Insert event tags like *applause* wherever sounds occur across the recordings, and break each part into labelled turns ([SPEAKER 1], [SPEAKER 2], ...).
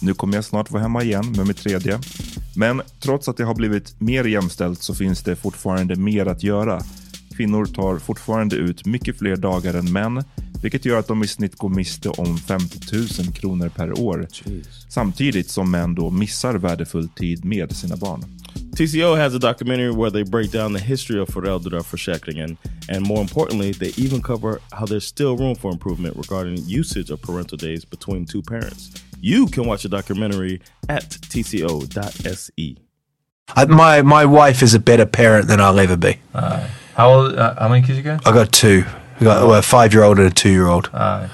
[SPEAKER 1] nu kommer jag snart vara hemma igen med mitt tredje. Men trots att det har blivit mer jämställt så finns det fortfarande mer att göra. Kvinnor tar fortfarande ut mycket fler dagar än män, vilket gör att de i snitt går miste om 50 000 kronor per år. Samtidigt som män då missar värdefull tid med sina barn.
[SPEAKER 2] TCO has a documentary where they break down the history of Fereldra for Shackringen, and more importantly, they even cover how there's still room for improvement regarding usage of parental days between two parents. You can watch the documentary at tco.se.
[SPEAKER 3] I, my my wife is a better parent than I'll ever be.
[SPEAKER 4] How old? Uh, how many kids you got?
[SPEAKER 3] I got two. I got well, a five year old and a two year old.
[SPEAKER 4] Uh,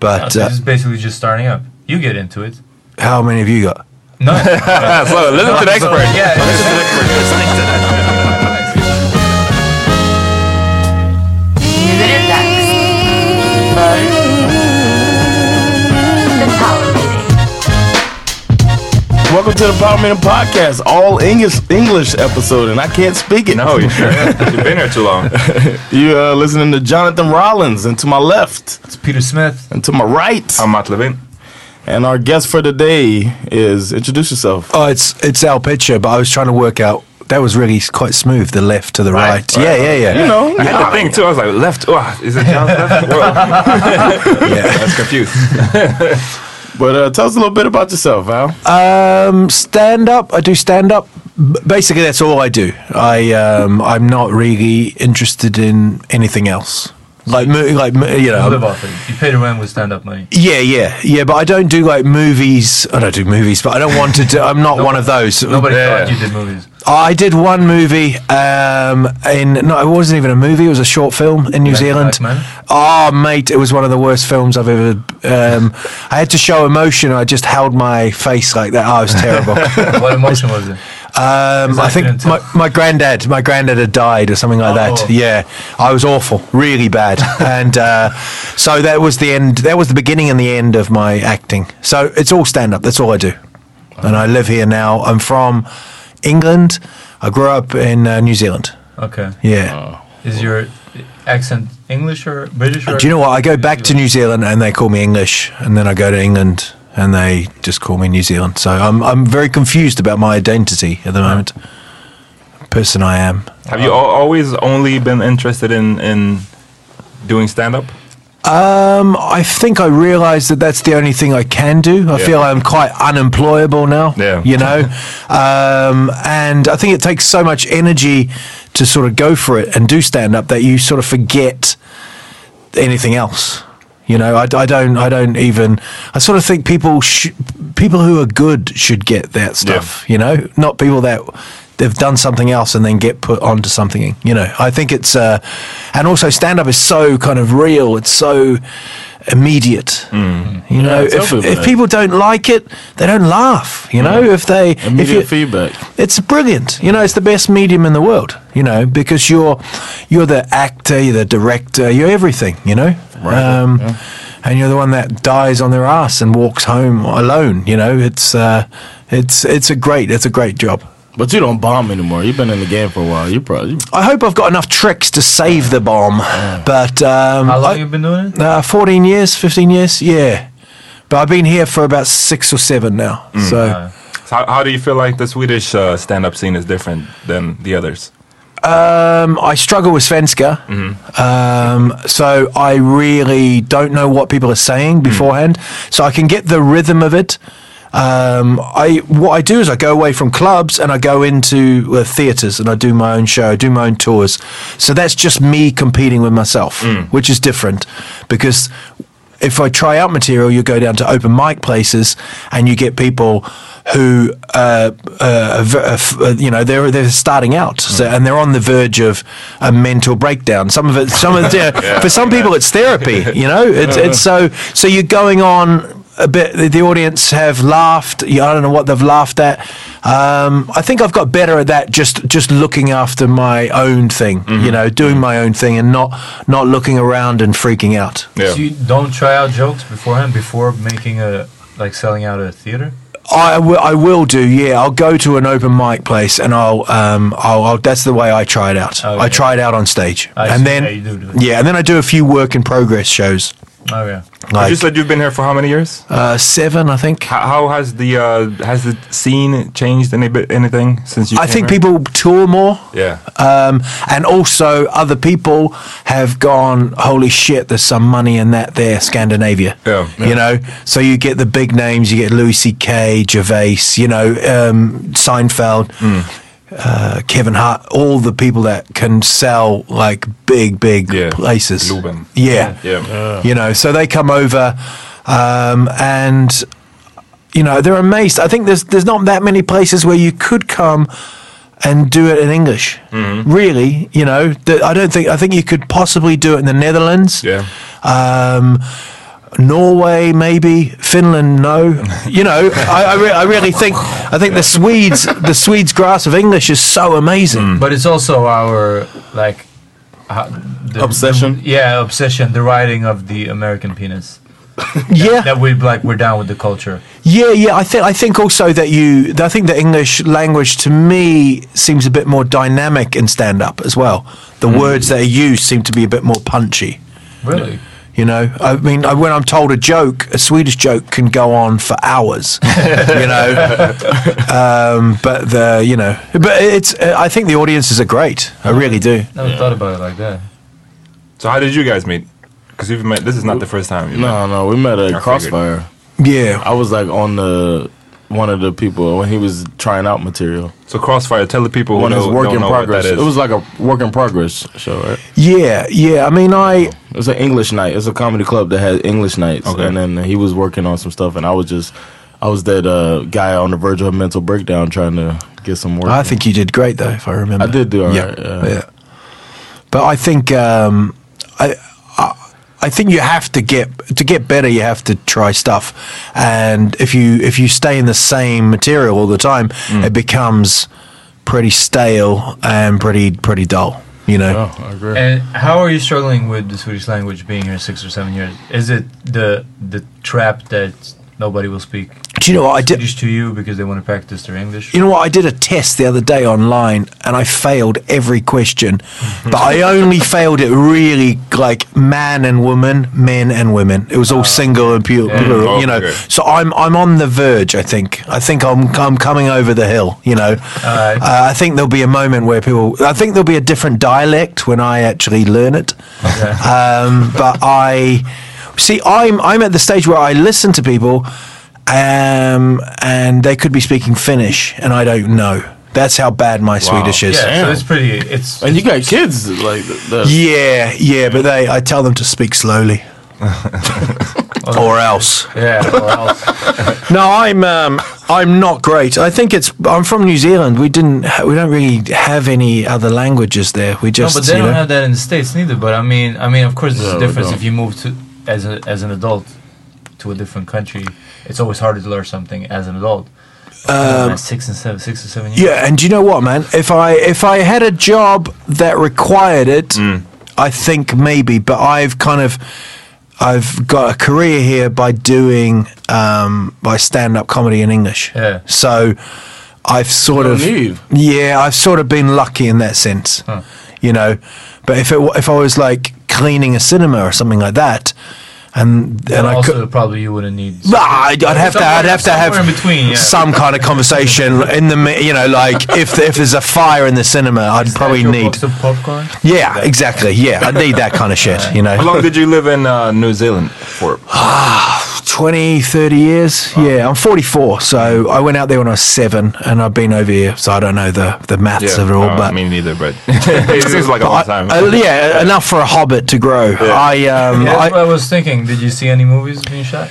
[SPEAKER 3] But
[SPEAKER 4] so
[SPEAKER 3] uh,
[SPEAKER 4] this is basically just starting up. You get into it.
[SPEAKER 3] how many have you got?
[SPEAKER 4] No. so listen to the expert. Yeah. listen to the expert.
[SPEAKER 2] Welcome to the Power Man Podcast, all English English episode, and I can't
[SPEAKER 1] *laughs*
[SPEAKER 2] speak it. No,
[SPEAKER 5] *laughs*
[SPEAKER 1] you You've been here too long.
[SPEAKER 2] you uh, listening to Jonathan Rollins, and to my left,
[SPEAKER 4] It's Peter Smith.
[SPEAKER 2] and to my right,
[SPEAKER 1] I'm Matt Levin.
[SPEAKER 2] and our guest for today is introduce yourself.
[SPEAKER 3] Oh, it's it's Al Pitcher, but I was trying to work out. That was really quite smooth. The left to the right. yeah, yeah, yeah,
[SPEAKER 2] You know,
[SPEAKER 1] I had to think too. I was like, left. Oh, is it
[SPEAKER 5] *laughs*
[SPEAKER 1] John's left? Whoa.
[SPEAKER 3] yeah.
[SPEAKER 1] I was confused.
[SPEAKER 2] but uh, tell us a little bit about yourself, Al.
[SPEAKER 3] Um, stand up. I do stand up. B- Basically, that's all I do. I um, I'm not really interested in anything else. Like mo- like mo- you know.
[SPEAKER 4] I live off it. You pay the rent with stand-up money.
[SPEAKER 3] Yeah, yeah, yeah. But I don't do like movies. I don't do movies, but I don't want to do. I'm
[SPEAKER 4] *laughs*
[SPEAKER 3] not one of those.
[SPEAKER 4] Nobody thought you did movies.
[SPEAKER 3] I did one movie um, in no, it wasn't even a movie. It was a short film in New
[SPEAKER 4] Black-
[SPEAKER 3] Zealand.
[SPEAKER 4] Black Man?
[SPEAKER 3] Oh, mate, it was one of the worst films I've ever. Um, I had to show emotion. I just held my face like that. Oh, it was
[SPEAKER 4] *laughs*
[SPEAKER 3] terrible.
[SPEAKER 4] What emotion was it?
[SPEAKER 3] Um, I
[SPEAKER 4] that
[SPEAKER 3] think
[SPEAKER 4] good?
[SPEAKER 3] my, my granddad, my granddad had died or something like
[SPEAKER 4] Oh.
[SPEAKER 3] that. Yeah, I was awful, really
[SPEAKER 4] *laughs*
[SPEAKER 3] bad, and uh, so that was the end. That was the beginning and the end of my acting. So it's all stand up. That's all I do, and I live here now. I'm from England. I grew up in uh, New Zealand.
[SPEAKER 4] Okay.
[SPEAKER 3] Yeah.
[SPEAKER 4] Is your accent English or British? Or
[SPEAKER 3] Uh, Do you know what? I go back to New Zealand and they call me English, and then I go to England and they just call me New Zealand. So I'm I'm very confused about my identity at the moment. person I am.
[SPEAKER 1] Have you al- always only been interested in in doing stand up?
[SPEAKER 3] Um, I think I realised that that's the only thing I can do. I
[SPEAKER 1] Yeah.
[SPEAKER 3] feel I'm quite unemployable now.
[SPEAKER 1] Yeah.
[SPEAKER 3] you
[SPEAKER 1] *laughs*
[SPEAKER 3] know, um, and I think it takes so much energy to sort of go for it and do stand up that you sort of forget anything else. You know, I, I don't, I don't even. I sort of think people, sh- people who are good should get that stuff. You know, not people that they've done something else and then get put onto something. You know, I think it's, uh, and also stand up is so kind of real. It's so immediate. You know,
[SPEAKER 5] tell
[SPEAKER 3] if,
[SPEAKER 5] people
[SPEAKER 3] if
[SPEAKER 5] that.
[SPEAKER 3] people don't like it, they don't laugh. You know, if they, if
[SPEAKER 5] Immediate
[SPEAKER 3] you,
[SPEAKER 5] feedback.
[SPEAKER 3] it's brilliant. You know, it's the best medium in the world. You know, because you're you're the actor, you're the director, you're everything. You know,
[SPEAKER 5] Right,
[SPEAKER 3] Um, and you're the one that dies on their ass and walks home alone. You know, it's uh, it's it's a great it's a great job.
[SPEAKER 5] But you don't bomb anymore. You've been in the game for a while. You probably you-
[SPEAKER 3] I hope I've got enough tricks to save the bomb. But um,
[SPEAKER 4] How
[SPEAKER 3] I-
[SPEAKER 4] long you been doing it?
[SPEAKER 3] Uh, 14 years, 15 years, yeah. But I've been here for about six or seven now.
[SPEAKER 4] Mm.
[SPEAKER 3] So.
[SPEAKER 1] So how, how do you feel like the Swedish uh, stand up scene is different than the others?
[SPEAKER 3] Um, I struggle with Svenska. Um, so I really don't know what people are saying beforehand. So I can get the rhythm of it. Um, I what I do is I go away from clubs and I go into uh, theaters and I do my own show, I do my own tours. So that's just me competing with myself, which is different because if I try out material, you go down to open mic places and you get people who, uh, uh, are ver- uh, f- uh, you know, they're they're starting out so, and they're on the verge of a mental breakdown. Some of it, some of it, for some people, it's therapy. You know, it's it's so so you're going on. A bit. The, the audience have laughed. You, I don't know what they've laughed at. Um, I think I've got better at that. Just just looking after my own thing. You know, doing my own thing and not not looking around and freaking out.
[SPEAKER 1] Yeah.
[SPEAKER 4] So you don't try out jokes beforehand before making a like selling out a theater.
[SPEAKER 3] I wi- I will do. Yeah, I'll go to an open mic place, and I'll um, I'll, I'll that's the way I try it out.
[SPEAKER 4] Oh,
[SPEAKER 3] I
[SPEAKER 4] yeah.
[SPEAKER 3] try it out on stage,
[SPEAKER 4] I
[SPEAKER 3] and
[SPEAKER 4] see.
[SPEAKER 3] then
[SPEAKER 4] Yeah, you do do it.
[SPEAKER 3] yeah, and then I do a few work in progress shows,
[SPEAKER 4] Oh yeah.
[SPEAKER 1] you
[SPEAKER 3] like
[SPEAKER 1] said you've been here for how many years?
[SPEAKER 3] uh, seven, I think.
[SPEAKER 1] How, how has the uh, has the scene changed any bit anything since you?
[SPEAKER 3] I
[SPEAKER 1] came
[SPEAKER 3] think
[SPEAKER 1] here?
[SPEAKER 3] people tour more.
[SPEAKER 1] Yeah.
[SPEAKER 3] Um, and also, other people have gone, holy shit, there's some money in that there, Scandinavia.
[SPEAKER 1] Yeah, yeah.
[SPEAKER 3] You know, so you get the big names, you get Louis C.K., Gervais, you know, um, Seinfeld,
[SPEAKER 1] Hmm.
[SPEAKER 3] uh, Kevin Hart, all the people that can sell like big, big
[SPEAKER 1] Yeah.
[SPEAKER 3] places.
[SPEAKER 1] Luben.
[SPEAKER 3] Yeah.
[SPEAKER 1] Yeah.
[SPEAKER 3] You know, so they come over um, and, you know, they're amazed. I think there's, there's not that many places where you could come and do it in English. Really, you know, that I don't think, I think you could possibly do it in the Netherlands.
[SPEAKER 1] Yeah.
[SPEAKER 3] Um, Norway, maybe Finland, no. You know, I, I, re- I really think I think the Swedes the Swedes' grasp of English is so amazing.
[SPEAKER 4] But it's also our like ho- the,
[SPEAKER 5] Obsession?
[SPEAKER 4] the- yeah, obsession. The writing of the American penis.
[SPEAKER 3] Yeah,
[SPEAKER 4] That we like. We're down with the culture.
[SPEAKER 3] Yeah, yeah. I think I think also that you. I think the English language to me seems a bit more dynamic in stand up as well. The words that are used seem to be a bit more punchy.
[SPEAKER 4] Really.
[SPEAKER 3] You know, I mean, I, when I'm told a joke, a Swedish joke can go on for hours. you know, um, but the you know, but it's. Uh, I think the audiences are great. I really do.
[SPEAKER 4] Never thought about it like that.
[SPEAKER 1] So how did you guys meet? Because you've met. This is not the first time. You
[SPEAKER 5] No, no, we met at
[SPEAKER 1] figured.
[SPEAKER 5] Crossfire.
[SPEAKER 3] Yeah.
[SPEAKER 5] I was like on the one of the people when he was trying out material.
[SPEAKER 1] So Crossfire, tell the people who
[SPEAKER 5] One of
[SPEAKER 1] know,
[SPEAKER 5] his work
[SPEAKER 1] don't
[SPEAKER 5] in
[SPEAKER 1] know what
[SPEAKER 5] progress.
[SPEAKER 1] that
[SPEAKER 5] It
[SPEAKER 1] is.
[SPEAKER 5] was like a work in progress show, right?
[SPEAKER 3] Yeah. Yeah. I mean, I.
[SPEAKER 5] It was an English night. It's a comedy club that had English nights,
[SPEAKER 1] Okay.
[SPEAKER 5] and then he was working on some stuff, and I was just, I was that uh, guy on the verge of a mental breakdown trying to get some work.
[SPEAKER 3] I think you did great though, if I remember.
[SPEAKER 5] I did do all
[SPEAKER 3] yeah,
[SPEAKER 5] right, yeah.
[SPEAKER 3] yeah. But I think um, I, I I think you have to get to get better. You have to try stuff, and if you if you stay in the same material all the time,
[SPEAKER 5] Mm.
[SPEAKER 3] it becomes pretty stale and pretty pretty dull. You know,
[SPEAKER 5] Oh, I agree.
[SPEAKER 4] And how are you struggling with the Swedish language being here six or seven years? Is it the the trap that nobody will speak
[SPEAKER 3] Do you know what I did?
[SPEAKER 4] Swedish to you because they want to practice their English.
[SPEAKER 3] You know what? I did a test the other day online, and I failed every question, but I only failed it really like man and woman, men and women. It was all single and pu-
[SPEAKER 4] Yeah.
[SPEAKER 3] plural, you know.
[SPEAKER 2] Okay.
[SPEAKER 3] So I'm I'm on the verge. I think I think I'm I'm coming over the hill. You know.
[SPEAKER 4] Alright.
[SPEAKER 3] Uh, I think there'll be a moment where people. I think there'll be a different dialect when I actually learn it. Um, but I see. I'm I'm at the stage where I listen to people, um, and they could be speaking Finnish, and I don't know. That's how bad my Swedish is.
[SPEAKER 4] yeah, so
[SPEAKER 5] Damn.
[SPEAKER 4] it's pretty. It's
[SPEAKER 2] And you got kids like the, the
[SPEAKER 3] yeah, yeah, But they, I tell them to speak
[SPEAKER 4] *laughs*
[SPEAKER 3] slowly, or else.
[SPEAKER 4] yeah. Or
[SPEAKER 3] *laughs*
[SPEAKER 4] else.
[SPEAKER 3] No, I'm um, I'm not great. I think it's I'm from New Zealand. We didn't ha- we don't really have any other languages there. We
[SPEAKER 4] no,
[SPEAKER 3] just
[SPEAKER 4] but they
[SPEAKER 3] you
[SPEAKER 4] don't
[SPEAKER 3] know-
[SPEAKER 4] have that in the states neither. But I mean, I mean, of course, there's
[SPEAKER 5] Yeah,
[SPEAKER 4] a
[SPEAKER 5] they
[SPEAKER 4] difference
[SPEAKER 5] don't.
[SPEAKER 4] if you move to as a, as an adult to a different country. It's always harder to learn something as an adult. Um, six and seven, six or seven years.
[SPEAKER 3] Yeah, and do you know what, man? If I if I had a job that required it,
[SPEAKER 4] Mm.
[SPEAKER 3] I think maybe. But I've kind of I've got a career here by doing um, by stand up comedy in English.
[SPEAKER 4] Yeah.
[SPEAKER 3] So I've sort
[SPEAKER 2] No
[SPEAKER 3] of
[SPEAKER 2] need.
[SPEAKER 3] yeah, I've sort of been lucky in that sense, you know. But if it w- if I was like cleaning a cinema or something like that, and and I
[SPEAKER 4] also,
[SPEAKER 3] could.
[SPEAKER 4] probably you wouldn't need.
[SPEAKER 3] Nah, I'd, I'd have to. I'd have to have
[SPEAKER 4] Somewhere in between, yeah.
[SPEAKER 3] some kind of conversation in the. mi- You know,
[SPEAKER 4] *laughs*
[SPEAKER 3] like if if there's a fire in the cinema, I'd probably
[SPEAKER 4] Natural
[SPEAKER 3] need.
[SPEAKER 4] box of popcorn.
[SPEAKER 3] Yeah, exactly. Yeah, I'd need that
[SPEAKER 4] *laughs*
[SPEAKER 3] kind of shit. You
[SPEAKER 2] How
[SPEAKER 3] know,
[SPEAKER 2] long did you live in uh, New Zealand
[SPEAKER 3] *laughs*
[SPEAKER 2] for?
[SPEAKER 3] 20, 30 years. Yeah, I'm 44, so I went out there when I was seven, and I've been over here, so I don't know the the maths of it all,
[SPEAKER 2] Uh,
[SPEAKER 3] but.
[SPEAKER 2] me neither,
[SPEAKER 3] *laughs*
[SPEAKER 2] but *laughs* it seems like a long
[SPEAKER 3] I,
[SPEAKER 2] time.
[SPEAKER 3] uh, yeah, enough for a hobbit to grow. I um,
[SPEAKER 4] *laughs* Yeah, that's
[SPEAKER 3] I,
[SPEAKER 4] what I was thinking. Did you see any movies being shot?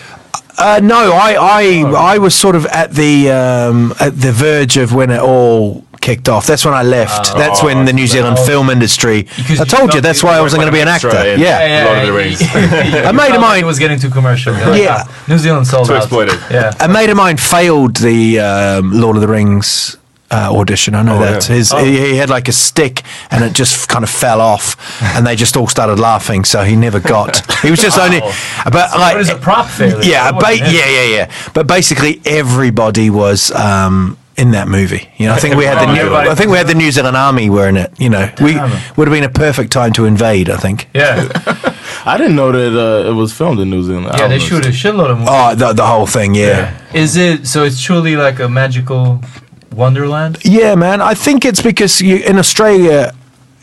[SPEAKER 3] Uh, no, I, I,
[SPEAKER 4] Oh.
[SPEAKER 3] I was sort of at the um, at the verge of when it all kicked off. That's when I left. that's when the New Zealand
[SPEAKER 4] Uh, Oh.
[SPEAKER 3] film industry.
[SPEAKER 4] Because
[SPEAKER 3] I
[SPEAKER 4] you
[SPEAKER 3] told you
[SPEAKER 4] felt
[SPEAKER 3] that's
[SPEAKER 4] you
[SPEAKER 3] why I
[SPEAKER 4] were
[SPEAKER 3] wasn't going to be an actor.
[SPEAKER 2] extra in-
[SPEAKER 3] Yeah.
[SPEAKER 2] Yeah. Lord of the Rings.
[SPEAKER 4] *laughs*
[SPEAKER 3] *laughs*
[SPEAKER 4] I
[SPEAKER 3] made a mind-
[SPEAKER 4] It was getting too commercial. "Ah,
[SPEAKER 3] Yeah. Uh,
[SPEAKER 4] New Zealand sold
[SPEAKER 2] Too
[SPEAKER 4] out.
[SPEAKER 2] exploited.
[SPEAKER 4] Yeah.
[SPEAKER 3] a mate of mine failed the um, Lord of the Rings. Uh, audition. I know
[SPEAKER 4] Oh,
[SPEAKER 3] that
[SPEAKER 2] yeah.
[SPEAKER 3] his he, he had like a stick and it just kind of fell off, and they just all started laughing. So he never got. He was just only, but like
[SPEAKER 4] What is a prop failure?
[SPEAKER 3] Yeah,
[SPEAKER 4] That
[SPEAKER 3] ba-
[SPEAKER 4] wasn't it.
[SPEAKER 3] yeah, yeah, yeah. But basically, everybody was um, in that movie. You know, I think we
[SPEAKER 4] *laughs*
[SPEAKER 3] had the new,
[SPEAKER 4] Everybody.
[SPEAKER 3] I think we had the New Zealand Army were in it. You know, we would have been a perfect time to invade. I think.
[SPEAKER 4] Yeah.
[SPEAKER 5] I didn't know that uh, it was filmed in New Zealand. I
[SPEAKER 4] Yeah,
[SPEAKER 5] don't
[SPEAKER 4] they
[SPEAKER 5] know.
[SPEAKER 4] shoot a shitload of movies.
[SPEAKER 3] Oh, the, the whole thing, yeah.
[SPEAKER 4] Is it so? It's truly like a magical wonderland.
[SPEAKER 3] yeah, man. I think it's because you, in Australia,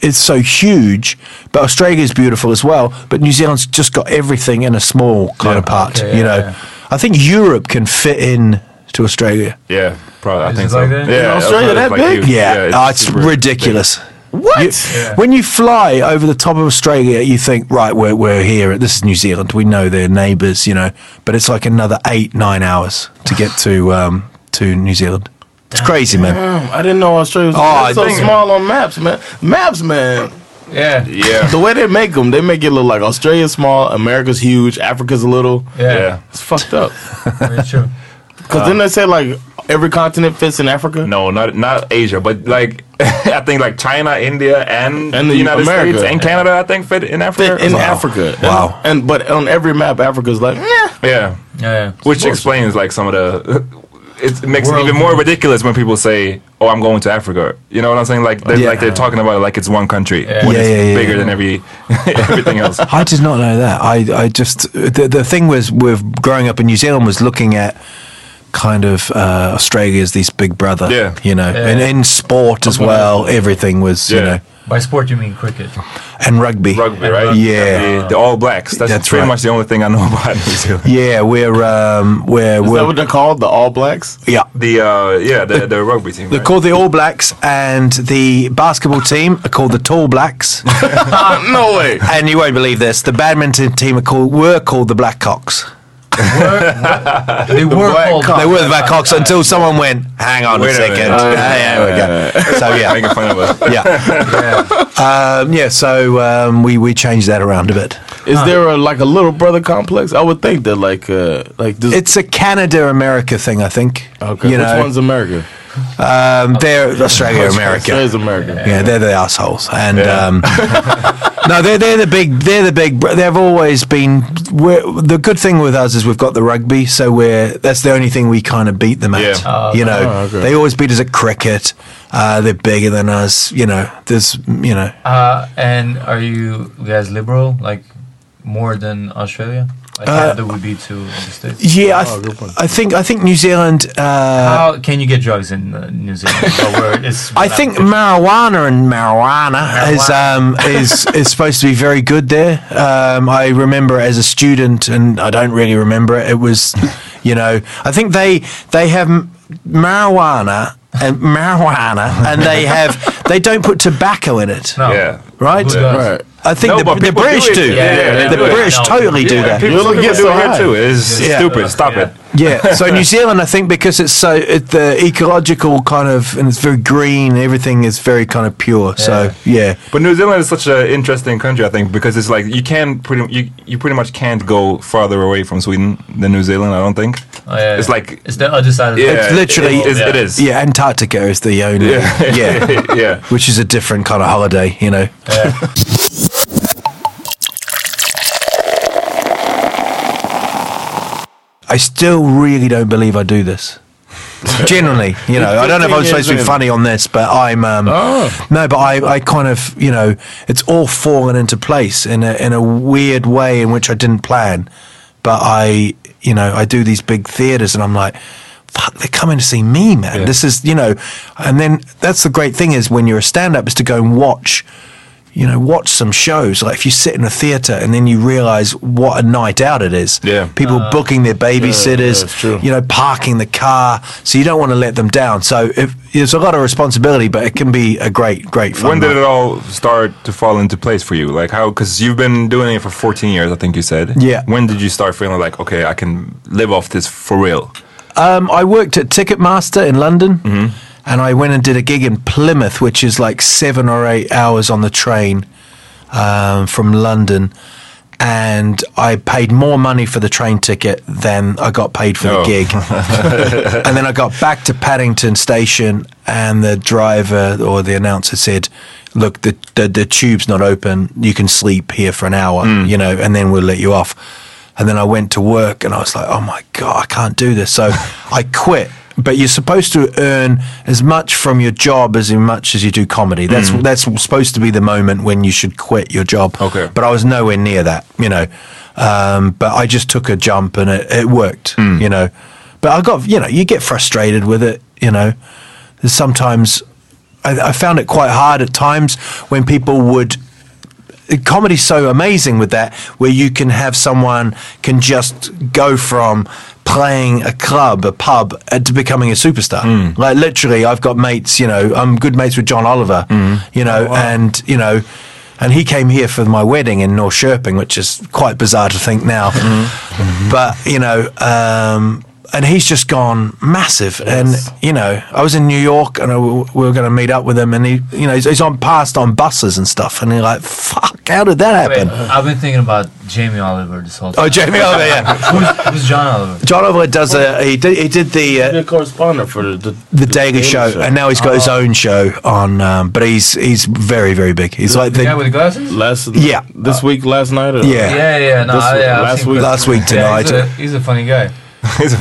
[SPEAKER 3] it's so huge, but Australia's beautiful as well. But New Zealand's just got everything in a small kind of part.
[SPEAKER 4] okay,
[SPEAKER 3] you
[SPEAKER 4] yeah,
[SPEAKER 3] know,
[SPEAKER 4] yeah.
[SPEAKER 3] I think Europe can fit in to Australia.
[SPEAKER 2] yeah, probably. I
[SPEAKER 4] Is
[SPEAKER 2] think
[SPEAKER 4] it
[SPEAKER 2] so.
[SPEAKER 4] like that?
[SPEAKER 2] Yeah,
[SPEAKER 4] In
[SPEAKER 5] Australia,
[SPEAKER 2] it's
[SPEAKER 5] that
[SPEAKER 2] like
[SPEAKER 5] big?
[SPEAKER 2] huge.
[SPEAKER 3] Yeah, oh, it's,
[SPEAKER 2] super big.
[SPEAKER 3] ridiculous. What? When you fly over the top of Australia, you think, right, we're, we're here. This is New Zealand. We know they're neighbours, you know. But it's like another eight, nine hours to get to um, to New Zealand. It's crazy, man.
[SPEAKER 5] Damn, I didn't know Australia was
[SPEAKER 3] Oh, I
[SPEAKER 5] it's so
[SPEAKER 3] think-
[SPEAKER 5] small on maps, man. Maps, man.
[SPEAKER 4] Yeah.
[SPEAKER 2] Yeah.
[SPEAKER 5] The way they make them, they make it look like Australia's small, America's huge, Africa's little.
[SPEAKER 4] Yeah.
[SPEAKER 5] It's fucked up.
[SPEAKER 4] Very true.
[SPEAKER 5] Because then they say like every continent fits in Africa.
[SPEAKER 2] No, not not Asia, but like
[SPEAKER 1] *laughs*
[SPEAKER 2] I think like China, India, and,
[SPEAKER 5] And
[SPEAKER 2] the
[SPEAKER 5] the
[SPEAKER 2] United
[SPEAKER 5] America.
[SPEAKER 2] States and Canada. I think fit in Africa.
[SPEAKER 5] Fit in
[SPEAKER 2] Wow.
[SPEAKER 5] Africa.
[SPEAKER 3] Wow.
[SPEAKER 5] And, and but on every map, Africa's like, yeah.
[SPEAKER 2] Yeah,
[SPEAKER 4] Yeah.
[SPEAKER 2] which explains like some of the. *laughs* It makes it
[SPEAKER 4] World
[SPEAKER 2] even more ridiculous when people say, "Oh, I'm going to Africa." You know what I'm saying? Like they're
[SPEAKER 3] Yeah.
[SPEAKER 2] like they're talking about it like it's one country
[SPEAKER 4] Yeah.
[SPEAKER 2] when
[SPEAKER 3] Yeah,
[SPEAKER 2] it's
[SPEAKER 3] yeah, yeah,
[SPEAKER 2] bigger
[SPEAKER 3] yeah.
[SPEAKER 2] than every *laughs* everything
[SPEAKER 3] *laughs*
[SPEAKER 2] else.
[SPEAKER 3] I did not know that. I, I just the, the thing was with growing up in New Zealand was looking at kind of uh, Australia as this big brother,
[SPEAKER 2] Yeah.
[SPEAKER 3] you know, and in sport as well. Everything was, you
[SPEAKER 2] Yeah.
[SPEAKER 3] know,
[SPEAKER 4] By sport you mean cricket.
[SPEAKER 3] and rugby,
[SPEAKER 2] Rugby, right?
[SPEAKER 3] Yeah.
[SPEAKER 2] the, the
[SPEAKER 5] *laughs*
[SPEAKER 2] All Blacks. That's,
[SPEAKER 3] That's
[SPEAKER 2] pretty
[SPEAKER 3] right.
[SPEAKER 2] much the only thing I know about New Zealand.
[SPEAKER 3] Yeah, we're um, we're,
[SPEAKER 5] Is that
[SPEAKER 3] we're
[SPEAKER 5] what they're called? The All Blacks?
[SPEAKER 3] yeah.
[SPEAKER 2] The
[SPEAKER 5] *laughs*
[SPEAKER 2] uh, yeah, the, the rugby team.
[SPEAKER 3] They're
[SPEAKER 2] right?
[SPEAKER 3] called the All Blacks, and the basketball team are called the Tall Blacks.
[SPEAKER 5] *laughs* Ah, no way.
[SPEAKER 3] and you won't believe this: the badminton team are called were called the Blackcocks.
[SPEAKER 4] They were
[SPEAKER 5] black
[SPEAKER 4] called.
[SPEAKER 5] cock.
[SPEAKER 3] They were the Blackcocks until someone went, "Hang on a
[SPEAKER 2] Wait a
[SPEAKER 3] second,
[SPEAKER 2] minute.
[SPEAKER 3] Ah, yeah, there we
[SPEAKER 5] *laughs*
[SPEAKER 3] go." So yeah,
[SPEAKER 2] making fun of us.
[SPEAKER 3] yeah, um, yeah. So um, we we changed that around a bit.
[SPEAKER 5] Is there a, like a little brother complex? I would think that like uh like this.
[SPEAKER 3] It's a Canada America thing, I think.
[SPEAKER 5] okay.
[SPEAKER 3] You
[SPEAKER 5] Which
[SPEAKER 3] know,
[SPEAKER 5] one's America?
[SPEAKER 3] Um, they're Australia, America.
[SPEAKER 5] Australia's American.
[SPEAKER 3] Yeah, they're the assholes, and um, no, they're they're the big they're the big. br- They've always been. We're, the good thing with us is we've got the rugby, so we're that's the only thing we kind of beat them at.
[SPEAKER 2] Yeah.
[SPEAKER 3] you know,
[SPEAKER 5] okay.
[SPEAKER 3] they always beat us at cricket. Uh, they're bigger than us. You know, there's you know.
[SPEAKER 4] Uh, and are you guys liberal, like more than Australia? Like Canada would be to the states.
[SPEAKER 3] Uh, Yeah, I, th- I think I think New Zealand. Uh,
[SPEAKER 4] How can you get drugs in uh, New Zealand?
[SPEAKER 3] *laughs*
[SPEAKER 4] Well, where it's
[SPEAKER 3] I think marijuana and marijuana, is um,
[SPEAKER 2] *laughs*
[SPEAKER 3] is is supposed to be very good there. Um, I remember as a student, and I don't really remember it. It was, you know, I think they they have m- marijuana and marijuana, and they have they don't put tobacco in it,
[SPEAKER 4] No.
[SPEAKER 2] Yeah.
[SPEAKER 3] right?
[SPEAKER 4] Who does?
[SPEAKER 5] Right.
[SPEAKER 3] I think
[SPEAKER 2] No,
[SPEAKER 3] the,
[SPEAKER 2] but
[SPEAKER 3] the
[SPEAKER 2] people do
[SPEAKER 3] British
[SPEAKER 2] it.
[SPEAKER 3] do.
[SPEAKER 2] Yeah, yeah, they
[SPEAKER 3] the
[SPEAKER 2] do it.
[SPEAKER 3] British
[SPEAKER 4] No,
[SPEAKER 3] totally do
[SPEAKER 2] Yeah,
[SPEAKER 3] that.
[SPEAKER 2] People,
[SPEAKER 5] You'll
[SPEAKER 2] people
[SPEAKER 5] get
[SPEAKER 2] do
[SPEAKER 5] so
[SPEAKER 2] it
[SPEAKER 5] high.
[SPEAKER 2] here too. It's
[SPEAKER 3] Yeah.
[SPEAKER 2] stupid. Stop it.
[SPEAKER 3] Yeah, so
[SPEAKER 2] *laughs*
[SPEAKER 3] New Zealand, I think, because it's so it, the ecological kind of and it's very green. Everything is very kind of pure. So yeah,
[SPEAKER 2] But New Zealand is such an interesting country, I think, because it's like you can pretty you, you pretty much can't go farther away from Sweden than New Zealand. I don't think.
[SPEAKER 4] Oh, yeah,
[SPEAKER 2] It's
[SPEAKER 4] yeah.
[SPEAKER 2] like
[SPEAKER 4] it's the other side of the
[SPEAKER 2] yeah,
[SPEAKER 3] It's literally-
[SPEAKER 2] it, it's- it is.
[SPEAKER 3] yeah. Antarctica is the only yeah,
[SPEAKER 2] yeah. *laughs* yeah.
[SPEAKER 3] which is a different kind of holiday. You know, I still really don't believe I do this. Generally,
[SPEAKER 2] *laughs*
[SPEAKER 3] you know, I don't know if I'm supposed to be funny on this, but I'm. Um, No, but I, I kind of, you know, it's all fallen into place in a in a weird way in which I didn't plan. But I, you know, I do these big theaters, and I'm like, fuck, they're coming to see me, man. This is, you know, and then that's the great thing is when you're a stand up is to go and watch. You know, watch some shows. Like if you sit in a theater and then you realize what a night out it is.
[SPEAKER 2] Yeah.
[SPEAKER 3] People booking their babysitters.
[SPEAKER 5] Uh, it's true.
[SPEAKER 3] You know, parking the car. So you don't want to let them down. So if, it's a lot of responsibility, but it can be a great, great fun.
[SPEAKER 2] When did
[SPEAKER 3] night.
[SPEAKER 2] it all start to fall into place for you? Like how? Because you've been doing it for 14 years, I think you said.
[SPEAKER 3] Yeah.
[SPEAKER 2] When did you start feeling like, okay, I can live off this for real?
[SPEAKER 3] Um, I worked at Ticketmaster in London,
[SPEAKER 2] Mm-hmm.
[SPEAKER 3] and I went and did a gig in Plymouth, which is like seven or eight hours on the train um, from London. And I paid more money for the train ticket than I got paid for
[SPEAKER 2] Oh.
[SPEAKER 3] the gig. and then I got back to Paddington Station, and the driver or the announcer said, "Look, the the, the tube's not open. You can sleep here for an hour, you know, and then we'll let you off." And then I went to work, and I was like, "Oh my god, I can't do this!" So I quit. But you're supposed to earn as much from your job as much as you do comedy. That's that's supposed to be the moment when you should quit your job.
[SPEAKER 2] Okay.
[SPEAKER 3] But I was nowhere near that, you know. Um, but I just took a jump and it, it worked, you know. But I got, you know, you get frustrated with it, you know. There's Sometimes I, I found it quite hard at times when people would. Comedy's so amazing with that, where you can have someone can just go from playing a club, a pub, uh, to becoming a superstar. Like literally, I've got mates. You know, I'm good mates with John Oliver. You know, and you know, and he came here for my wedding in North Sherping, which is quite bizarre to think now. But you know, um, and he's just gone massive. And you know, I was in New York, and I, we were going to meet up with him, and he, you know, he's, he's on passed on buses and stuff, and you're like, "Fuck, how did that
[SPEAKER 4] Wait,
[SPEAKER 3] happen?"
[SPEAKER 4] I've been thinking about Jamie Oliver this whole time.
[SPEAKER 3] Oh, Jamie Oliver,
[SPEAKER 4] *laughs*
[SPEAKER 3] yeah.
[SPEAKER 4] who's, who's John Oliver?
[SPEAKER 3] John Oliver does a he did he did the uh,
[SPEAKER 5] You're a correspondent for the, the,
[SPEAKER 3] the Daily Show, and now he's got his own show on. Um, but he's he's very very big. He's like
[SPEAKER 4] The guy with
[SPEAKER 3] the
[SPEAKER 4] the glasses?
[SPEAKER 5] last
[SPEAKER 3] Yeah.
[SPEAKER 5] this week, last night, or
[SPEAKER 3] Yeah.
[SPEAKER 4] Yeah, yeah, no,
[SPEAKER 5] This-
[SPEAKER 4] I- yeah, I've
[SPEAKER 5] last
[SPEAKER 4] seen
[SPEAKER 5] week-
[SPEAKER 4] Chris
[SPEAKER 3] last week
[SPEAKER 4] Rock. Yeah, he's,
[SPEAKER 3] tonight.
[SPEAKER 4] a, he's a
[SPEAKER 3] *laughs*
[SPEAKER 4] funny guy.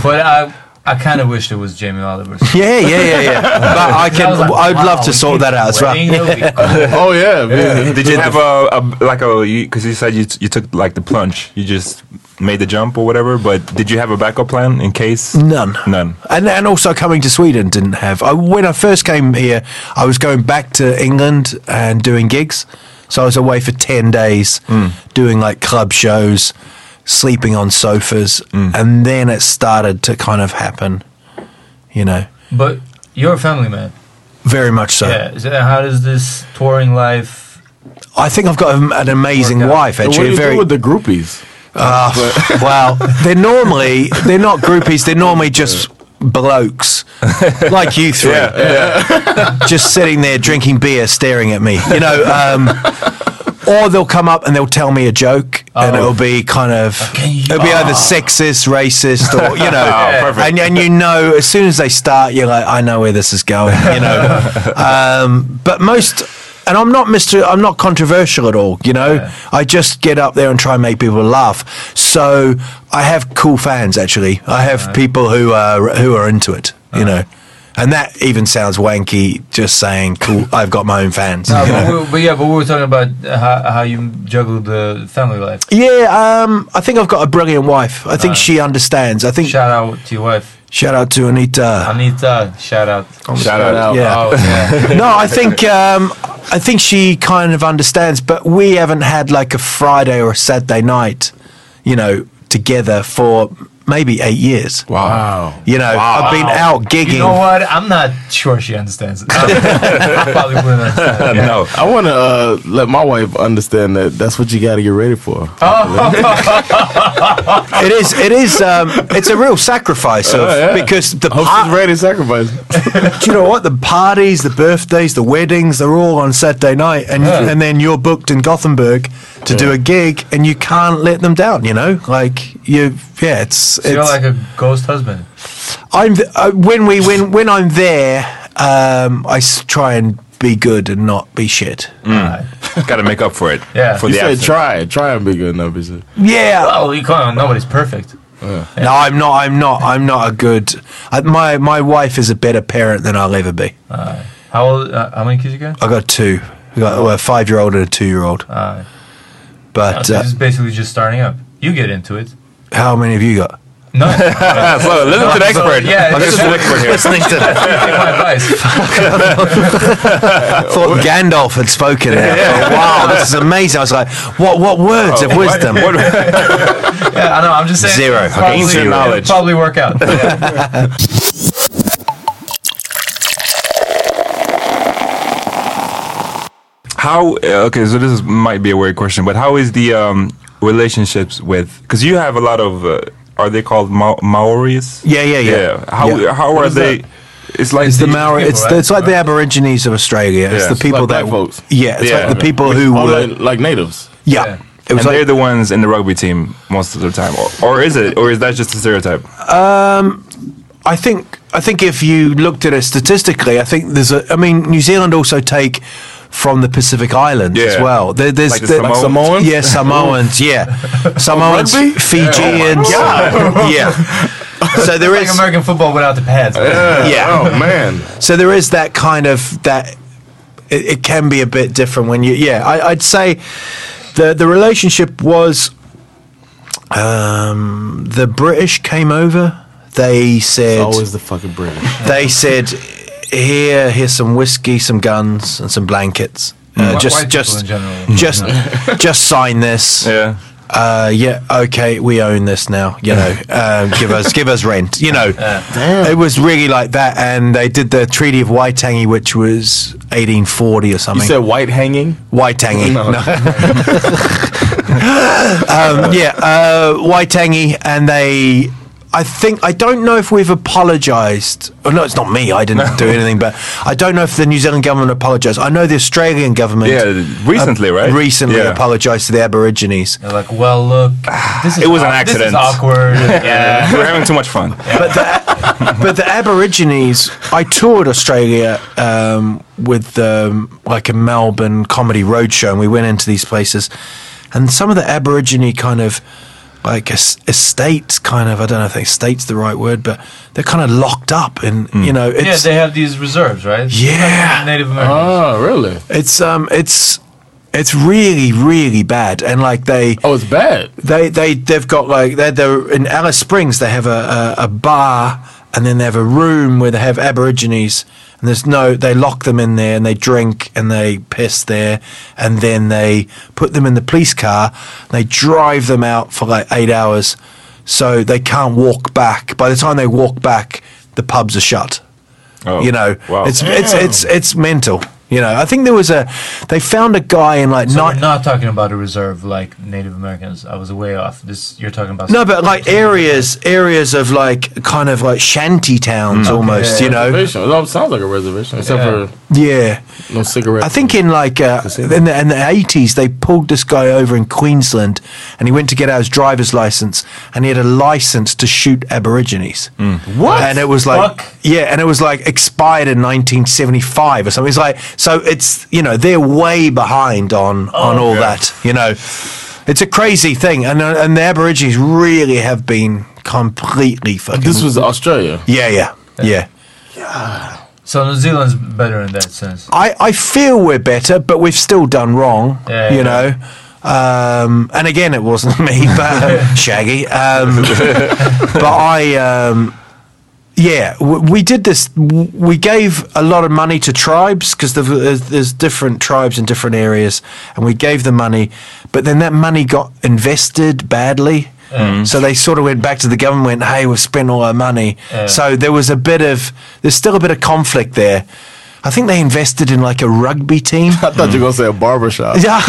[SPEAKER 4] but I, I kind of wish it was Jamie Oliver.
[SPEAKER 3] Yeah, yeah, yeah, yeah. But I
[SPEAKER 4] I
[SPEAKER 3] can.
[SPEAKER 4] was like,
[SPEAKER 3] I'd love
[SPEAKER 4] wow,
[SPEAKER 3] to
[SPEAKER 4] we
[SPEAKER 3] sort
[SPEAKER 4] did
[SPEAKER 3] that out as well.
[SPEAKER 4] wedding, that would
[SPEAKER 3] *laughs*
[SPEAKER 4] be cool.
[SPEAKER 5] Oh yeah, yeah.
[SPEAKER 2] Did you have a, a like a because you said you t- you took like the plunge, you just made the jump or whatever. But did you have a backup plan in case?
[SPEAKER 3] None.
[SPEAKER 2] None.
[SPEAKER 3] And and also coming to Sweden didn't have. I, when I first came here, I was going back to England and doing gigs, so I was away for ten days
[SPEAKER 5] Mm.
[SPEAKER 3] doing like club shows, sleeping on sofas,
[SPEAKER 5] Mm.
[SPEAKER 3] and then it started to kind of happen, you know,
[SPEAKER 4] But you're a family man.
[SPEAKER 3] very much so.
[SPEAKER 4] Yeah. So how does this touring
[SPEAKER 3] *laughs*
[SPEAKER 4] life?
[SPEAKER 3] I think I've got a- an amazing
[SPEAKER 4] Work out.
[SPEAKER 3] wife
[SPEAKER 5] What do
[SPEAKER 3] actually.
[SPEAKER 5] you
[SPEAKER 3] very
[SPEAKER 5] do with the groupies?
[SPEAKER 3] well, they're normally they're not groupies. They're normally just blokes like you three, *laughs* just sitting there drinking beer, staring at me. You know. Um, or they'll come up and they'll tell me a joke, and
[SPEAKER 4] Oh.
[SPEAKER 3] it'll be kind of
[SPEAKER 4] Okay, you-
[SPEAKER 3] it'll be either
[SPEAKER 4] ah.
[SPEAKER 3] sexist, racist, or you know.
[SPEAKER 2] *laughs* Oh, perfect.
[SPEAKER 3] And, and you know, as soon as they start, you're like, I know where this is going,
[SPEAKER 2] *laughs*
[SPEAKER 3] you know. um, but most, and I'm not Mr. I'm not controversial at all, you know. I just get up there and try and make people laugh. So I have cool fans. Actually, I have people who are who are into it, you know. And that even sounds wanky, just saying, cool, I've got my own fans.
[SPEAKER 4] No,
[SPEAKER 3] you know?
[SPEAKER 4] but, we, but yeah, but we were talking about how, how you juggle the family life.
[SPEAKER 3] Yeah, um, I think I've got a brilliant wife. I think she understands. I think shout,
[SPEAKER 4] Shout out to your wife,
[SPEAKER 3] out to Anita.
[SPEAKER 4] Anita.
[SPEAKER 3] *laughs*
[SPEAKER 4] Shout out.
[SPEAKER 2] Shout out.
[SPEAKER 3] Yeah.
[SPEAKER 4] Oh,
[SPEAKER 3] *laughs*
[SPEAKER 4] yeah.
[SPEAKER 3] no, I think um, I think she kind of understands, but we haven't had like a Friday or a Saturday night, you know, together for maybe eight years.
[SPEAKER 5] Wow.
[SPEAKER 3] You know, I've been out gigging.
[SPEAKER 4] You know what? I'm not sure
[SPEAKER 3] *laughs*
[SPEAKER 4] she understands. I probably wouldn't understand.
[SPEAKER 2] No.
[SPEAKER 5] I want to uh, let my wife understand that that's what you got to get ready for.
[SPEAKER 3] It is, it is, um, it's a real sacrifice of because the
[SPEAKER 5] Hope
[SPEAKER 3] par-
[SPEAKER 5] she's ready to sacrifice.
[SPEAKER 3] *laughs* Do you know what? The parties, the birthdays, the weddings, they're all on Saturday night, and and then you're booked in Gothenburg to do a gig, and you can't let them down. You know, like you, yeah, it's
[SPEAKER 4] So
[SPEAKER 3] it's.
[SPEAKER 4] you're like a ghost husband.
[SPEAKER 3] I'm th- uh, when we when when I'm there, um, I s- try and be good and not be shit.
[SPEAKER 4] Alright.
[SPEAKER 2] Got to make up for it.
[SPEAKER 4] Yeah.
[SPEAKER 2] For
[SPEAKER 5] You
[SPEAKER 2] the
[SPEAKER 5] said
[SPEAKER 2] absence.
[SPEAKER 5] try, try and be good enough. You said.
[SPEAKER 3] Yeah.
[SPEAKER 4] Well, you can't. Nobody's perfect.
[SPEAKER 3] No, I'm not. I'm not. I'm not a good. I, my my wife is a better parent than I'll ever be.
[SPEAKER 4] How old? Uh, how many kids you got?
[SPEAKER 3] I got two. I got well, a five year old and a two year old.
[SPEAKER 4] Uh,
[SPEAKER 3] But
[SPEAKER 4] so
[SPEAKER 3] uh,
[SPEAKER 4] this is basically just starting up. You get into it.
[SPEAKER 3] how many have you got?
[SPEAKER 4] No. *laughs* Take
[SPEAKER 2] Yeah, so listen to the expert.
[SPEAKER 4] yeah,
[SPEAKER 2] I'm just
[SPEAKER 4] it's-
[SPEAKER 2] an expert here.
[SPEAKER 3] Listening to *laughs* that.
[SPEAKER 4] my advice.
[SPEAKER 3] thought Gandalf had spoken there. I thought, wow, this is amazing. I was like, what what words of wisdom?
[SPEAKER 4] Yeah, I know. I'm just saying.
[SPEAKER 3] Zero.
[SPEAKER 4] it's
[SPEAKER 3] Okay,
[SPEAKER 4] Probably,
[SPEAKER 2] zero.
[SPEAKER 4] it'll
[SPEAKER 2] Knowledge.
[SPEAKER 4] Probably work
[SPEAKER 3] *laughs*
[SPEAKER 4] out. Yeah.
[SPEAKER 2] How? uh, Okay, so this is, might be a weird question, but how is the um, relationships with? Because you have a lot of. Uh, are they called Ma- Maoris?
[SPEAKER 3] Yeah, yeah, yeah.
[SPEAKER 2] How
[SPEAKER 3] Yeah.
[SPEAKER 2] how are they? It's like
[SPEAKER 3] It's the
[SPEAKER 2] the-
[SPEAKER 3] Maori. It's the, it's like the Aborigines of Australia. It's
[SPEAKER 2] Yeah.
[SPEAKER 3] the
[SPEAKER 2] It's
[SPEAKER 3] people
[SPEAKER 5] like
[SPEAKER 3] that
[SPEAKER 5] black folks.
[SPEAKER 3] Yeah, it's
[SPEAKER 2] Yeah.
[SPEAKER 3] like the people who
[SPEAKER 5] Oh,
[SPEAKER 3] were.
[SPEAKER 5] like, like natives.
[SPEAKER 3] yeah.
[SPEAKER 4] Yeah.
[SPEAKER 3] It was
[SPEAKER 2] and they're
[SPEAKER 3] like
[SPEAKER 2] the ones in the rugby team most of the time, or, or is it? Or is that just a stereotype?
[SPEAKER 3] *laughs* I think I think if you looked at it statistically, I think there's a. I mean, New Zealand also take from the Pacific Islands as
[SPEAKER 2] Yeah.
[SPEAKER 3] well. There, there's
[SPEAKER 2] Like the
[SPEAKER 3] there-
[SPEAKER 2] Samoans? Oh, Like Samoans? *laughs*
[SPEAKER 3] Yeah, Samoans. Yeah, Samoans, Fijians.
[SPEAKER 2] Oh,
[SPEAKER 3] Yeah. *laughs*
[SPEAKER 2] *laughs*
[SPEAKER 3] So there
[SPEAKER 4] Like
[SPEAKER 3] is.
[SPEAKER 4] American football without the pads.
[SPEAKER 3] Uh, Yeah.
[SPEAKER 5] Oh man.
[SPEAKER 3] So there is that kind of that. It, it can be a bit different when you. Yeah, I, I'd say the the relationship was. Um, the British came over. They said
[SPEAKER 5] Always the fucking British.
[SPEAKER 3] they said here here's some whiskey, some guns, and some blankets. Uh,
[SPEAKER 4] Wh-
[SPEAKER 3] just
[SPEAKER 4] white Mm. people
[SPEAKER 3] just
[SPEAKER 4] in general.
[SPEAKER 3] just *laughs* just sign this
[SPEAKER 2] Yeah.
[SPEAKER 3] uh, yeah, okay, we own this now. You know, um, give us give us rent. You know, it was really like that, and they did the Treaty of Waitangi, which was 1840 or
[SPEAKER 5] You
[SPEAKER 3] something.
[SPEAKER 5] said white hanging.
[SPEAKER 2] *laughs*
[SPEAKER 3] Waitangi. No. um, yeah, uh, Waitangi, and they. I think I don't know if we've apologised. Oh, no, it's not me. I
[SPEAKER 2] *laughs*
[SPEAKER 3] didn't do anything, but I don't know if the New Zealand government apologised. I know the Australian government. uh,
[SPEAKER 2] Yeah, recently, right?
[SPEAKER 3] Recently
[SPEAKER 2] Yeah.
[SPEAKER 3] apologised to the Aborigines.
[SPEAKER 4] They're like, well, look. This is
[SPEAKER 2] It was an
[SPEAKER 4] awk- This is
[SPEAKER 2] accident.
[SPEAKER 4] awkward.
[SPEAKER 3] *laughs*
[SPEAKER 4] yeah.
[SPEAKER 2] We're having too much fun.
[SPEAKER 3] but the, but the Aborigines, I toured Australia um, with um, like a Melbourne comedy roadshow, and we went into these places, and some of the Aborigine kind of like es- estates, kind of I don't know if estates the right word, but they're kind of locked up, and you know,
[SPEAKER 4] Yeah,
[SPEAKER 3] it's
[SPEAKER 4] they have these reserves, right?
[SPEAKER 3] Yeah. Uh,
[SPEAKER 4] Like Native Americans.
[SPEAKER 5] Oh really?
[SPEAKER 3] it's um it's it's really really bad, and like they
[SPEAKER 5] Oh, it's bad.
[SPEAKER 3] they they they've got like they're, they're in Alice Springs. They have a, a a bar and then they have a room where they have Aborigines. And there's no they lock them in there and they drink and they piss there and then they put them in the police car. And they drive them out for like eight hours, so they can't walk back. By the time they walk back, the pubs are shut.
[SPEAKER 2] Oh,
[SPEAKER 3] you know,
[SPEAKER 2] wow.
[SPEAKER 3] it's it's it's it's mental. You know, I think there was a they found a guy in like
[SPEAKER 4] So
[SPEAKER 3] ni-
[SPEAKER 4] we're not talking about a reserve like Native Americans. I was way off. This you're talking about.
[SPEAKER 3] No, but like areas, areas of like kind of like shanty towns almost, you know.
[SPEAKER 5] Reservation. Well, it sounds like a reservation, except
[SPEAKER 4] Yeah.
[SPEAKER 5] for
[SPEAKER 3] Yeah.
[SPEAKER 5] No cigarette.
[SPEAKER 3] I think in like uh, in the in the eighties they pulled this guy over in Queensland, and he went to get out his driver's license, and he had a license to shoot Aborigines. What? And it was like,
[SPEAKER 4] Fuck.
[SPEAKER 3] yeah, and it was like expired in nineteen seventy five or something. It's like, so it's you know they're way behind on on all that. You know, it's a crazy thing, and uh, and the Aborigines really have been completely fucking.
[SPEAKER 5] this was
[SPEAKER 3] *laughs*
[SPEAKER 5] Australia.
[SPEAKER 3] yeah, yeah, yeah.
[SPEAKER 4] So New Zealand's better in that sense.
[SPEAKER 3] I, I feel we're better, but we've still done wrong,
[SPEAKER 4] Yeah,
[SPEAKER 3] you
[SPEAKER 4] yeah.
[SPEAKER 3] know. Um, and again, it wasn't *laughs* me,
[SPEAKER 4] *laughs*
[SPEAKER 3] but Shaggy. Um, but I, um, yeah, we, we did this. w- We gave a lot of money to tribes because there's, there's different tribes in different areas, and we gave them money, but then that money got invested badly.
[SPEAKER 4] Mm.
[SPEAKER 3] So they sort of went back to the government, went, hey, we've spent all our money. So there was a bit of, there's still a bit of conflict there. I think they invested in like a
[SPEAKER 5] *laughs*
[SPEAKER 3] rugby team. *laughs*
[SPEAKER 5] I thought you were gonna say a barbershop,
[SPEAKER 3] Yeah.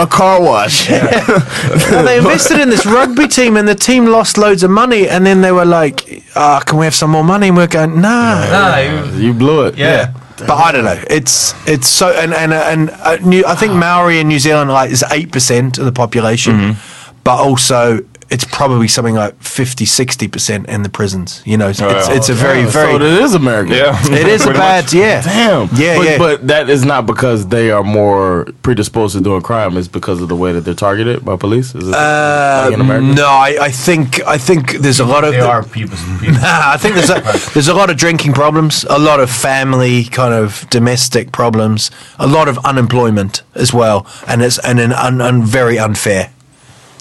[SPEAKER 5] *laughs* a car wash.
[SPEAKER 3] Well, they invested in this rugby team and the team lost loads of money and then they were like, "Ah, can we have some more money? And we are going, nah.
[SPEAKER 4] Nah, you,
[SPEAKER 5] You blew it.
[SPEAKER 4] yeah.
[SPEAKER 3] But I don't know. It's it's so and and and uh, New, I think Maori in New Zealand like is eight percent of the population,
[SPEAKER 5] Mm-hmm.
[SPEAKER 3] but also it's probably something like 50 60 percent in the prisons. You know, it's, it's, it's a very
[SPEAKER 5] Oh, Yeah,
[SPEAKER 3] very.
[SPEAKER 5] So *laughs* it is American.
[SPEAKER 3] *laughs* it is a
[SPEAKER 2] Pretty
[SPEAKER 3] bad yeah.
[SPEAKER 5] Damn.
[SPEAKER 3] Yeah,
[SPEAKER 5] but,
[SPEAKER 3] yeah.
[SPEAKER 5] But that is not because they are more predisposed to doing crime. It's because of the way that they're targeted by police. Is it uh, in America?
[SPEAKER 3] Um, No, I, I think I think there's a lot of
[SPEAKER 4] They are people's people.
[SPEAKER 3] *laughs* I think there's a, there's a lot of drinking problems, a lot of family kind of domestic problems, a lot of unemployment as well, and it's and an un, un, very unfair.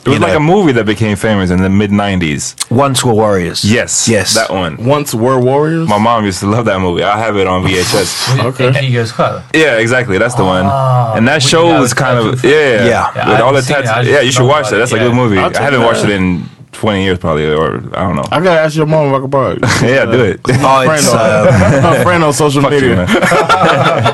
[SPEAKER 2] There was
[SPEAKER 3] you
[SPEAKER 2] like
[SPEAKER 3] know.
[SPEAKER 2] a movie that became famous in the mid '90s.
[SPEAKER 3] Once were warriors.
[SPEAKER 2] Yes,
[SPEAKER 3] Yes.
[SPEAKER 2] that one.
[SPEAKER 5] Once were warriors.
[SPEAKER 2] My mom used to love that movie. I have it on *laughs* VHS.
[SPEAKER 4] okay. Thank you guys. Huh?
[SPEAKER 2] yeah, exactly. That's the one. And that
[SPEAKER 4] we
[SPEAKER 2] show
[SPEAKER 4] have
[SPEAKER 2] was
[SPEAKER 4] a
[SPEAKER 2] kind of
[SPEAKER 4] tattoo.
[SPEAKER 2] yeah,
[SPEAKER 3] Yeah.
[SPEAKER 4] Yeah, I
[SPEAKER 2] with all
[SPEAKER 4] haven't
[SPEAKER 2] the
[SPEAKER 4] seen it. I
[SPEAKER 2] tats-
[SPEAKER 4] just
[SPEAKER 2] Yeah, you should
[SPEAKER 4] know
[SPEAKER 2] watch
[SPEAKER 4] about
[SPEAKER 2] that.
[SPEAKER 4] it,
[SPEAKER 2] That's a
[SPEAKER 4] yeah.
[SPEAKER 2] good movie.
[SPEAKER 5] I'll
[SPEAKER 2] I
[SPEAKER 5] check
[SPEAKER 2] haven't
[SPEAKER 5] it
[SPEAKER 2] watched
[SPEAKER 5] out.
[SPEAKER 2] it in 20 years probably, or I don't know.
[SPEAKER 5] I gotta ask your mom if I can borrow it.
[SPEAKER 2] *laughs* yeah, do
[SPEAKER 4] *laughs*
[SPEAKER 2] it.
[SPEAKER 3] Oh,
[SPEAKER 5] My friend,
[SPEAKER 3] it's,
[SPEAKER 5] on, *laughs*
[SPEAKER 2] *laughs*
[SPEAKER 3] um,
[SPEAKER 5] my friend on social
[SPEAKER 2] Fuck you,
[SPEAKER 5] media.
[SPEAKER 2] man.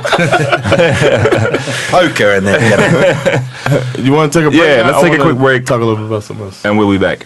[SPEAKER 3] poker in there. yeah.
[SPEAKER 5] You, want to take a break?
[SPEAKER 2] Yeah,
[SPEAKER 5] I-
[SPEAKER 2] let's
[SPEAKER 5] I
[SPEAKER 2] take a
[SPEAKER 5] wanna
[SPEAKER 2] quick break.
[SPEAKER 5] Talk a little bit about something else.
[SPEAKER 2] and we'll be back.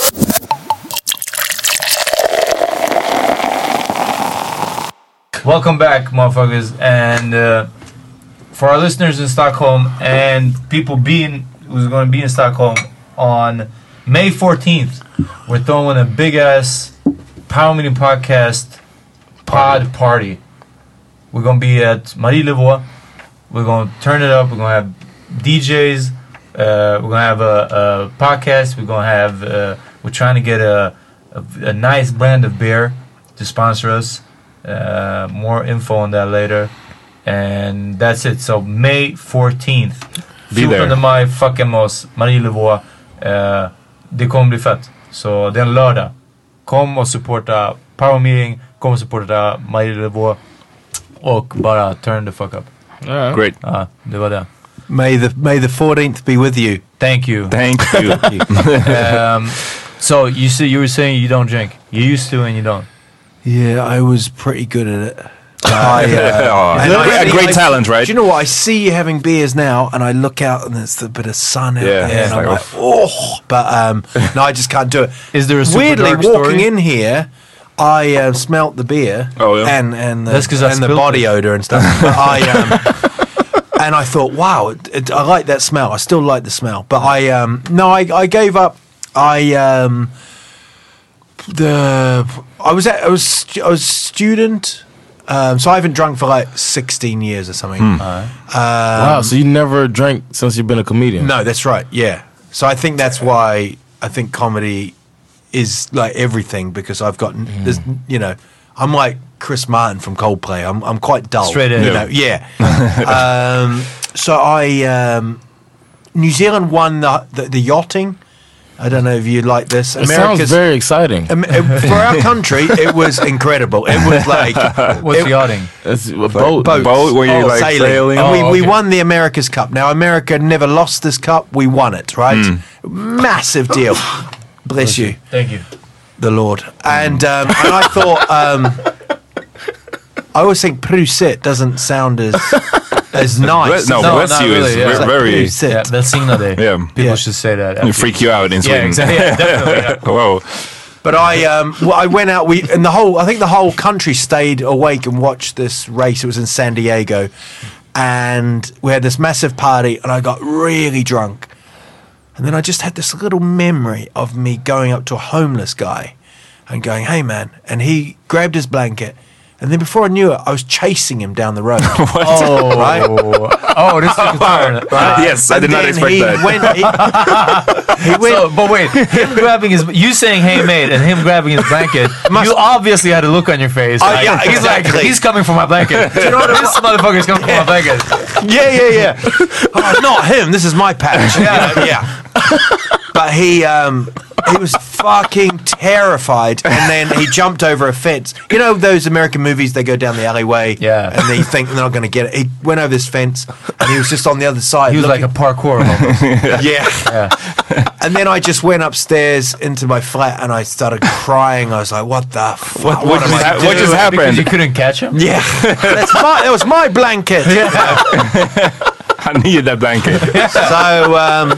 [SPEAKER 4] Welcome back, motherfuckers, and uh, for our listeners in Stockholm and people being who's going to be in Stockholm on May fourteenth, we're throwing a big ass Power Meeting Podcast pod party. We're gonna be at Marie Levois. We're gonna turn it up. We're gonna have DJs. Uh, we're gonna have a, a podcast. We're gonna have. Uh, we're trying to get a, a a nice brand of beer to sponsor us. Uh, more info on that later. And that's it. So May fourteenth.
[SPEAKER 2] Be there.
[SPEAKER 4] de maj, fucking med oss. Marie Levois. Eh, det kommer bli fett. Så det är en lördag. Kom och supporta Power Meeting. Kom och supporta Marie Levois. Och bara turn the fuck up.
[SPEAKER 2] Great.
[SPEAKER 4] Ja, Uh, det var det.
[SPEAKER 3] *laughs* May the May the fourteenth be with you.
[SPEAKER 4] Thank you.
[SPEAKER 2] Thank
[SPEAKER 4] *laughs*
[SPEAKER 2] you.
[SPEAKER 4] um, so you see, you were saying you don't drink. You used to and you don't.
[SPEAKER 2] *laughs*
[SPEAKER 3] Yeah, I was pretty good at it. I,
[SPEAKER 2] Oh,
[SPEAKER 3] uh,
[SPEAKER 2] Yeah.
[SPEAKER 3] and I
[SPEAKER 2] A
[SPEAKER 3] see-
[SPEAKER 2] great
[SPEAKER 3] I-
[SPEAKER 2] talent, right?
[SPEAKER 3] Do you know what? I see you having beers now, and I look out, and there's a bit of sun out
[SPEAKER 2] Yeah,
[SPEAKER 3] there,
[SPEAKER 2] it's
[SPEAKER 3] and I'm
[SPEAKER 2] like,
[SPEAKER 3] like, oh, but
[SPEAKER 2] *laughs*
[SPEAKER 3] um, no, I just can't do it.
[SPEAKER 6] Is there a super
[SPEAKER 3] weirdly
[SPEAKER 6] dark
[SPEAKER 3] walking
[SPEAKER 6] story?
[SPEAKER 3] in here? I uh, smelt the beer,
[SPEAKER 2] Oh, yeah.
[SPEAKER 3] and and the,
[SPEAKER 6] That's 'cause I
[SPEAKER 3] and the
[SPEAKER 6] spilled
[SPEAKER 3] body
[SPEAKER 6] it.
[SPEAKER 3] odor and stuff.
[SPEAKER 6] *laughs*
[SPEAKER 3] But I um, and I thought, wow, it, it, I like that smell. I still like the smell, but I um, no, I, I gave up. I um, the I was at, I was stu- I was student, um, so I haven't drunk for like sixteen years or something.
[SPEAKER 6] Hmm.
[SPEAKER 3] Uh,
[SPEAKER 5] wow, so you never drank since you've been a comedian?
[SPEAKER 3] No, that's right. Yeah. So I think that's why I think comedy is like everything because I've got there's you know I'm like Chris Martin from Coldplay. I'm I'm quite dull.
[SPEAKER 4] Straight in.
[SPEAKER 3] You know, yeah. um, so I um, New Zealand won the, the the yachting. I don't know if you like this.
[SPEAKER 5] It sounds very exciting.
[SPEAKER 3] Am- uh, for our country, it was incredible. It was like
[SPEAKER 6] What's
[SPEAKER 3] it-
[SPEAKER 6] yachting?
[SPEAKER 5] It's a boat.
[SPEAKER 3] boats. Oh,
[SPEAKER 2] boat where you're, like, sailing.
[SPEAKER 3] And we,
[SPEAKER 6] Oh,
[SPEAKER 3] we
[SPEAKER 6] okay.
[SPEAKER 3] won the America's Cup. Now America never lost this cup. We won it, right?
[SPEAKER 2] Hmm.
[SPEAKER 3] Massive deal. Bless you,
[SPEAKER 4] Thank you.
[SPEAKER 3] the Lord. And um, and I thought um, I always think Prusit doesn't sound as
[SPEAKER 2] *laughs*
[SPEAKER 3] as nice.
[SPEAKER 2] no,
[SPEAKER 4] No,
[SPEAKER 2] bless
[SPEAKER 4] not
[SPEAKER 2] you
[SPEAKER 4] really,
[SPEAKER 2] is
[SPEAKER 4] yeah.
[SPEAKER 2] ve-
[SPEAKER 4] It's like *laughs*
[SPEAKER 2] very.
[SPEAKER 3] Prusit.
[SPEAKER 4] Yeah, that's Signa Day.
[SPEAKER 2] Yeah.
[SPEAKER 4] People
[SPEAKER 3] Yeah.
[SPEAKER 4] should say that.
[SPEAKER 2] You freak you out in Sweden.
[SPEAKER 4] yeah, exactly. Yeah, definitely.
[SPEAKER 2] *laughs*
[SPEAKER 4] yeah.
[SPEAKER 2] Whoa.
[SPEAKER 3] But I, um, well, I went out. We and the whole, I think the whole country stayed awake and watched this race. It was in San Diego, and we had this massive party, and I got really drunk. And then I just had this little memory of me going up to a homeless guy and going, "Hey, man!" And he grabbed his blanket, and then before I knew it, I was chasing him down the
[SPEAKER 2] *laughs*
[SPEAKER 3] road.
[SPEAKER 4] Oh,
[SPEAKER 3] Right?
[SPEAKER 4] oh, this is a Uh, turn.
[SPEAKER 2] yes, I
[SPEAKER 3] And
[SPEAKER 2] did not
[SPEAKER 3] then
[SPEAKER 2] expect
[SPEAKER 3] he
[SPEAKER 2] that.
[SPEAKER 3] Went, he, he went.
[SPEAKER 4] So, but wait, him grabbing his, you saying "Hey mate" and him grabbing his
[SPEAKER 3] *laughs*
[SPEAKER 4] blanket. you obviously had a look on your face.
[SPEAKER 3] Oh, yeah,
[SPEAKER 4] he's
[SPEAKER 3] exactly.
[SPEAKER 4] like, he's coming for
[SPEAKER 3] *laughs*
[SPEAKER 4] my blanket. you know what this motherfucker's coming for my blanket.
[SPEAKER 3] Yeah, yeah, yeah. *laughs* oh, not him. This is my patch. Yeah, yeah. but he um, he was fucking terrified, and then he jumped over a fence. You know those American movies? They go down the alleyway,
[SPEAKER 4] Yeah.
[SPEAKER 3] and they think they're not going to get it. He went over this fence, and he was just on the other side.
[SPEAKER 4] He was like
[SPEAKER 3] looking-
[SPEAKER 4] a parkour. Homo.
[SPEAKER 3] yeah. And then I just went upstairs into my flat, and I started crying. I was like, "What the? Fuck, what,
[SPEAKER 2] what
[SPEAKER 3] am
[SPEAKER 2] just
[SPEAKER 3] I
[SPEAKER 2] hap- what
[SPEAKER 3] doing?"
[SPEAKER 2] just happened?
[SPEAKER 4] Because you couldn't catch him.
[SPEAKER 3] Yeah, that's my, that was
[SPEAKER 2] *laughs*
[SPEAKER 3] my blanket.
[SPEAKER 2] I needed that blanket.
[SPEAKER 3] so um,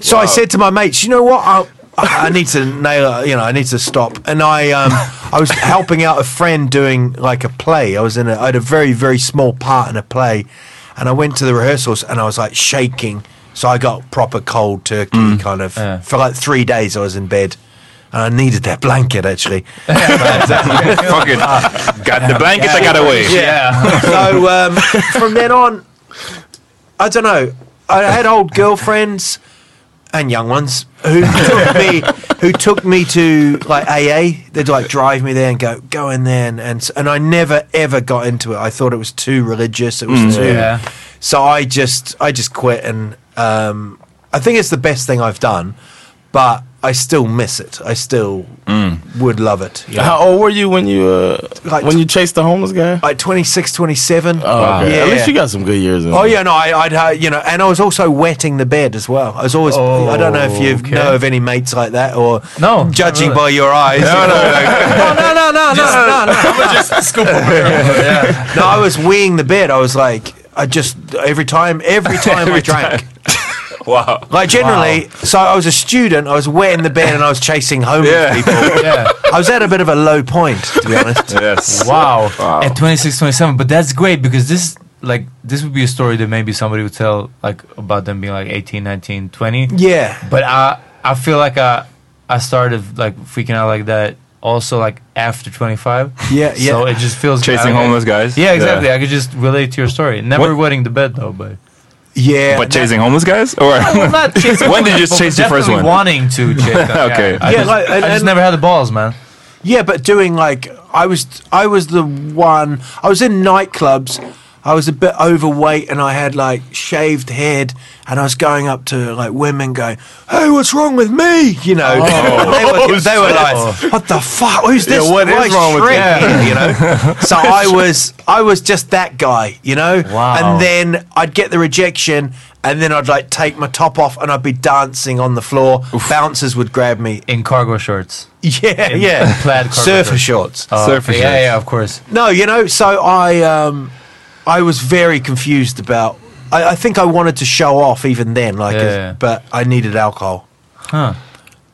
[SPEAKER 3] so I said to my mates, you know what? I, I I need to nail. You know, I need to stop. And I um, I was helping out a friend doing like a play. I was in. A, I had a very very small part in a play, and I went to the rehearsals and I was like shaking. So I got proper cold turkey
[SPEAKER 2] Mm.
[SPEAKER 3] kind of for like three days. I was in bed. And I needed that blanket actually. *laughs*
[SPEAKER 4] *laughs*
[SPEAKER 2] Fuck it. Got the blanket, I got away.
[SPEAKER 5] *laughs*
[SPEAKER 4] Yeah. *laughs*
[SPEAKER 3] so um, from then on, I don't know. I had old girlfriends and young ones who *laughs* took me who took me to like AA. They'd like drive me there and go go in there and and, s- and I never ever got into it. I thought it was too religious. It was
[SPEAKER 5] Mm,
[SPEAKER 3] too.
[SPEAKER 4] Yeah.
[SPEAKER 3] So I just I just quit and um, I think it's the best thing I've done, but. I still miss it. I still
[SPEAKER 5] Mm.
[SPEAKER 3] would love it. you know?
[SPEAKER 5] How old were you when you uh,
[SPEAKER 3] Like-
[SPEAKER 5] when you chased the homeless guy?
[SPEAKER 3] Like 26, 27.
[SPEAKER 5] Oh, okay. At
[SPEAKER 3] Yeah.
[SPEAKER 5] least you got some good years. In
[SPEAKER 3] Oh
[SPEAKER 5] there.
[SPEAKER 3] yeah, no, I, I'd uh, you know, and I was also wetting the bed as well. I was always. I don't know if you
[SPEAKER 4] Okay.
[SPEAKER 3] know of any mates like that, or
[SPEAKER 4] No, not
[SPEAKER 3] judging
[SPEAKER 4] really.
[SPEAKER 3] by your eyes. no, *laughs* no, no, no, no, no, no, *laughs* no.
[SPEAKER 4] Just scoop over there. Yeah.
[SPEAKER 3] No, I was weeing the bed. I was like, I just every time, *laughs* every time I drank.
[SPEAKER 2] Wow.
[SPEAKER 3] Like generally, so I was a student. I was wetting the bed and I was chasing homeless
[SPEAKER 2] Yeah.
[SPEAKER 3] *laughs* people.
[SPEAKER 4] *laughs* Yeah.
[SPEAKER 3] I was at a bit of a low point, to be honest.
[SPEAKER 2] Yes.
[SPEAKER 4] Wow. At 26, 27. But that's great because this, like, this would be a story that maybe somebody would tell, like, about them being like 18, 19, 20.
[SPEAKER 3] Yeah,
[SPEAKER 4] But I, I feel like I, I started like freaking out like that. Also, like after 25.
[SPEAKER 3] Yeah, yeah.
[SPEAKER 4] So it just feels
[SPEAKER 2] Chasing
[SPEAKER 4] I-
[SPEAKER 2] homeless guys.
[SPEAKER 4] Yeah, exactly. I could just relate to your story. Never
[SPEAKER 2] What-
[SPEAKER 4] wetting the bed though, but
[SPEAKER 3] yeah.
[SPEAKER 2] But chasing homeless guys? Or *laughs*
[SPEAKER 4] *laughs* well, not chasing.
[SPEAKER 2] When did you
[SPEAKER 4] but
[SPEAKER 2] chase your first
[SPEAKER 4] definitely
[SPEAKER 2] one?
[SPEAKER 4] Wanting to chase. Them. *laughs* yeah.
[SPEAKER 2] Okay.
[SPEAKER 4] I
[SPEAKER 3] Yeah,
[SPEAKER 4] just,
[SPEAKER 3] like, and-
[SPEAKER 4] I just
[SPEAKER 3] and-
[SPEAKER 4] never had the balls, man.
[SPEAKER 3] Yeah, but doing like I was I was the one I was in nightclubs I was a bit overweight and I had like shaved head and I was going up to like women going, hey, what's wrong with me? You know, *laughs* they, were, they were like, what the fuck? Who's this?
[SPEAKER 2] Oh. what is
[SPEAKER 3] Why is
[SPEAKER 2] wrong with
[SPEAKER 3] Shrek
[SPEAKER 2] that?
[SPEAKER 3] here?"
[SPEAKER 2] *laughs*
[SPEAKER 3] You know, so I was I was just that guy, you know.
[SPEAKER 4] Wow.
[SPEAKER 3] And then I'd get the rejection. And then I'd like take my top off and I'd be dancing on the floor. Bouncers would grab me.
[SPEAKER 4] in cargo shorts.
[SPEAKER 3] *laughs* Yeah,
[SPEAKER 4] In
[SPEAKER 3] yeah.
[SPEAKER 4] plaid cargo
[SPEAKER 3] surfer shorts.
[SPEAKER 4] shorts. Uh,
[SPEAKER 2] Surfer
[SPEAKER 4] Yeah,
[SPEAKER 2] shorts.
[SPEAKER 4] yeah, of course.
[SPEAKER 3] No, you know, so I um, I was very confused about. I, I think I wanted to show off even then, like,
[SPEAKER 4] Yeah,
[SPEAKER 3] if-
[SPEAKER 4] yeah.
[SPEAKER 3] but I needed alcohol.
[SPEAKER 4] Huh.
[SPEAKER 2] Wow.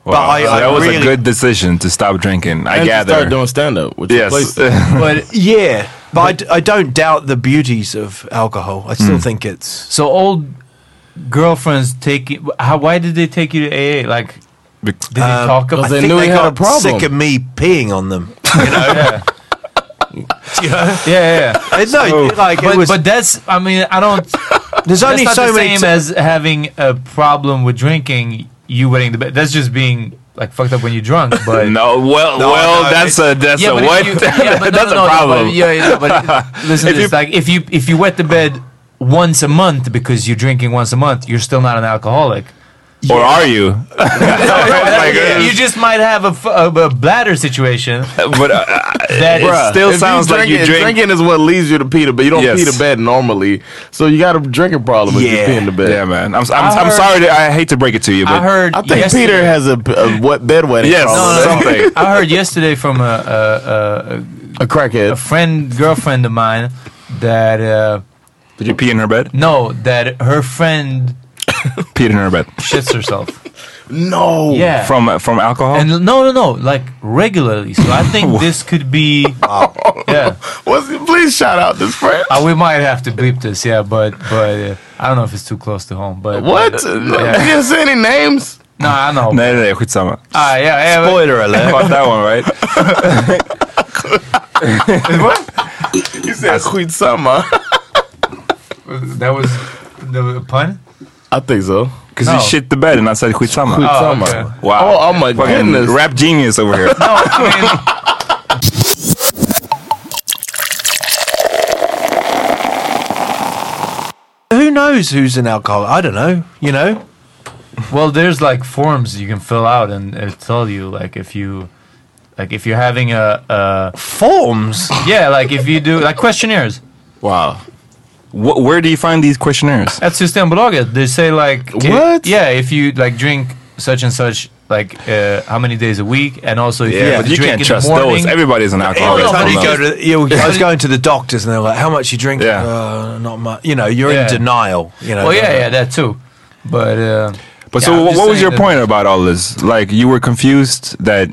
[SPEAKER 3] But I-
[SPEAKER 2] So
[SPEAKER 3] I
[SPEAKER 2] that was
[SPEAKER 3] really-
[SPEAKER 2] a good decision to stop drinking. I
[SPEAKER 5] and to start
[SPEAKER 2] gather.
[SPEAKER 5] doing stand up, which
[SPEAKER 2] Yes.
[SPEAKER 5] is place *laughs*
[SPEAKER 4] But
[SPEAKER 3] Yeah, *laughs* but I d- I, don't doubt the beauties of alcohol. I
[SPEAKER 2] Hmm.
[SPEAKER 3] still think it's
[SPEAKER 4] so old girlfriends take you. How? Why did they take you to AA? Like,
[SPEAKER 2] Bec-
[SPEAKER 4] did they talk about?
[SPEAKER 5] they
[SPEAKER 3] I
[SPEAKER 4] it?
[SPEAKER 3] think
[SPEAKER 5] knew
[SPEAKER 3] they
[SPEAKER 5] he had a
[SPEAKER 3] got
[SPEAKER 5] problem.
[SPEAKER 3] sick of me peeing on them.
[SPEAKER 4] yeah.
[SPEAKER 3] You know?
[SPEAKER 4] yeah, yeah.
[SPEAKER 3] no, like
[SPEAKER 4] But,
[SPEAKER 3] it was.
[SPEAKER 4] but that's. I mean, I don't.
[SPEAKER 3] there's
[SPEAKER 4] That's
[SPEAKER 3] only
[SPEAKER 4] not
[SPEAKER 3] so
[SPEAKER 4] the
[SPEAKER 3] many.
[SPEAKER 4] same
[SPEAKER 3] ti-
[SPEAKER 4] as having a problem with drinking. You winning the bet. That's just being like fucked up when you're drunk.
[SPEAKER 2] *laughs*
[SPEAKER 4] But
[SPEAKER 2] No, well, well,
[SPEAKER 3] no,
[SPEAKER 2] that's a that's a
[SPEAKER 4] but if
[SPEAKER 2] what?
[SPEAKER 4] you- Oh, yeah,
[SPEAKER 5] *laughs*
[SPEAKER 4] but
[SPEAKER 2] *laughs*
[SPEAKER 4] no,
[SPEAKER 2] that's
[SPEAKER 4] no, no,
[SPEAKER 2] a problem.
[SPEAKER 4] But, yeah,
[SPEAKER 2] *laughs*
[SPEAKER 4] yeah, but listen
[SPEAKER 2] If
[SPEAKER 4] to
[SPEAKER 2] you-
[SPEAKER 4] this. Like, if you if you wet the bed once a month because you're drinking once a month, you're still not an
[SPEAKER 2] *laughs*
[SPEAKER 4] alcoholic.
[SPEAKER 2] Oh, Or are you? Like, uh,
[SPEAKER 4] *laughs* You just might have a, f- a- a bladder
[SPEAKER 2] *laughs*
[SPEAKER 4] situation
[SPEAKER 2] but uh, uh,
[SPEAKER 4] that is
[SPEAKER 2] Bruh. still sounds like you drink-
[SPEAKER 5] Drinking is what leads you to pee, to- but you don't
[SPEAKER 2] Yes.
[SPEAKER 5] pee to bed normally, so you got a drinking problem if you
[SPEAKER 3] Yeah.
[SPEAKER 5] pee in the bed.
[SPEAKER 2] yeah, man. I'm I'm,
[SPEAKER 4] I
[SPEAKER 2] I'm
[SPEAKER 4] heard-
[SPEAKER 2] sorry. That I hate to break it to you, but
[SPEAKER 4] I heard.
[SPEAKER 5] I think
[SPEAKER 4] yesterday-
[SPEAKER 5] Peter has a, a what bedwetting
[SPEAKER 2] yes,
[SPEAKER 5] problem.
[SPEAKER 2] something.
[SPEAKER 4] *laughs* I heard yesterday from a, a, a,
[SPEAKER 5] A crackhead.
[SPEAKER 4] a friend girlfriend of mine that uh,
[SPEAKER 2] Did you pee in her bed?
[SPEAKER 4] no that her friend
[SPEAKER 2] Peed in her bed
[SPEAKER 4] shits herself.
[SPEAKER 5] no.
[SPEAKER 4] yeah.
[SPEAKER 2] from uh, from
[SPEAKER 3] Oh.
[SPEAKER 2] alcohol.
[SPEAKER 4] and no, no, no, like regularly. So I
[SPEAKER 3] *laughs*
[SPEAKER 4] think this could be. Yeah.
[SPEAKER 5] What's, please shout out this friend.
[SPEAKER 4] Uh, we might have to bleep this, yeah, but but uh, I don't know if it's too close to home. But
[SPEAKER 5] What?
[SPEAKER 4] Uh,
[SPEAKER 5] No,
[SPEAKER 4] *laughs* yeah.
[SPEAKER 5] You didn't say any names.
[SPEAKER 4] No, I
[SPEAKER 3] *laughs*
[SPEAKER 4] know.
[SPEAKER 2] Nej, nej, nej, skitsamma.
[SPEAKER 4] Ah, yeah, yeah. but-
[SPEAKER 2] Spoiler alert. About that one,
[SPEAKER 4] *laughs*
[SPEAKER 2] right?
[SPEAKER 5] You said Quitsama.
[SPEAKER 4] That was the pun.
[SPEAKER 5] I think so.
[SPEAKER 2] Because
[SPEAKER 4] No.
[SPEAKER 2] you shit the bed and I said skitsamma.
[SPEAKER 4] Oh,
[SPEAKER 5] Quitsama.
[SPEAKER 4] okay.
[SPEAKER 2] Oh, Wow.
[SPEAKER 5] Oh, oh my
[SPEAKER 2] Fucking
[SPEAKER 5] goodness.
[SPEAKER 2] Rap genius over here.
[SPEAKER 4] No, I mean.
[SPEAKER 3] who knows who's an alcoholic? I don't know. You know,
[SPEAKER 4] Well, there's like forms you can fill out, and it'll tell you like if you, like if you're having a, a
[SPEAKER 3] forms.
[SPEAKER 4] yeah, like if you do like questionnaires.
[SPEAKER 2] Wow. Wh- where do you find these questionnaires?
[SPEAKER 4] At Systembolaget, they say like i-
[SPEAKER 2] What?
[SPEAKER 4] yeah, if you like drink such and such, like uh, how many days a week, and also if you,
[SPEAKER 2] Yeah,
[SPEAKER 4] have
[SPEAKER 2] but
[SPEAKER 4] to
[SPEAKER 2] you
[SPEAKER 4] drink
[SPEAKER 2] can't
[SPEAKER 4] in
[SPEAKER 2] trust
[SPEAKER 4] the morning,
[SPEAKER 2] those. Everybody's an
[SPEAKER 3] Every
[SPEAKER 2] alcoholic.
[SPEAKER 4] Oh, no,
[SPEAKER 3] time
[SPEAKER 4] but
[SPEAKER 3] you
[SPEAKER 4] it's
[SPEAKER 3] go to, you *laughs* know, I was going to the doctors and they were like, "How much you drink?"
[SPEAKER 2] Yeah.
[SPEAKER 3] Uh, not much. You know, you're
[SPEAKER 4] Yeah.
[SPEAKER 3] in denial. You know.
[SPEAKER 4] Well, yeah, yeah, that too, but. Uh,
[SPEAKER 2] But
[SPEAKER 4] Yeah,
[SPEAKER 2] so,
[SPEAKER 4] I'm
[SPEAKER 2] wh-
[SPEAKER 4] just
[SPEAKER 2] what was
[SPEAKER 4] saying
[SPEAKER 2] your
[SPEAKER 4] that-
[SPEAKER 2] point about all this? Like, you were confused that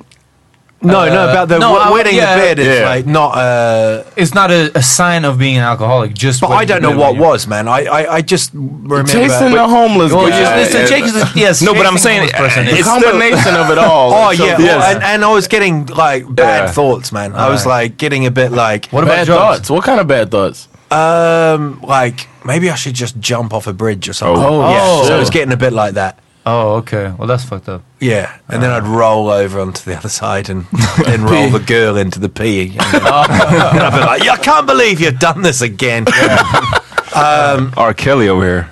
[SPEAKER 3] No, no, about the
[SPEAKER 4] uh, no,
[SPEAKER 3] w-
[SPEAKER 4] I-
[SPEAKER 3] wedding
[SPEAKER 4] yeah.
[SPEAKER 3] the bed is
[SPEAKER 2] Yeah.
[SPEAKER 3] like not. Uh,
[SPEAKER 4] it's not a, a sign of being an alcoholic. Just
[SPEAKER 3] but
[SPEAKER 4] what
[SPEAKER 3] I
[SPEAKER 4] you
[SPEAKER 3] don't know
[SPEAKER 4] do
[SPEAKER 3] what
[SPEAKER 4] when you-
[SPEAKER 3] was, man. I, I, I just remember.
[SPEAKER 5] Chasing the homeless
[SPEAKER 4] Well,
[SPEAKER 5] guy.
[SPEAKER 4] just listen,
[SPEAKER 2] yeah.
[SPEAKER 4] Jason's- yes.
[SPEAKER 2] *laughs* No, but I'm
[SPEAKER 4] Jason's
[SPEAKER 2] saying,
[SPEAKER 4] homeless person
[SPEAKER 2] uh,
[SPEAKER 4] is-
[SPEAKER 5] the
[SPEAKER 2] it's
[SPEAKER 5] combination of it
[SPEAKER 3] *laughs*
[SPEAKER 5] all.
[SPEAKER 3] Oh
[SPEAKER 5] So-
[SPEAKER 3] yeah, well, and, and I was getting like bad
[SPEAKER 2] Yeah.
[SPEAKER 3] thoughts, man. I was like getting a bit like,
[SPEAKER 4] what about
[SPEAKER 5] bad
[SPEAKER 4] drugs?
[SPEAKER 5] thoughts. What kind of bad thoughts?
[SPEAKER 3] um, like maybe I should just jump off a bridge or something.
[SPEAKER 2] Oh.
[SPEAKER 3] yeah.
[SPEAKER 4] Oh.
[SPEAKER 3] So I was getting a bit like that.
[SPEAKER 4] Oh, okay. Well, that's fucked up.
[SPEAKER 3] Yeah, and then I'd roll over onto the *laughs* other side and then roll the girl into the pee. And I'd be like, "Yeah, I can't believe you've done this again.
[SPEAKER 2] R. Kelly over here.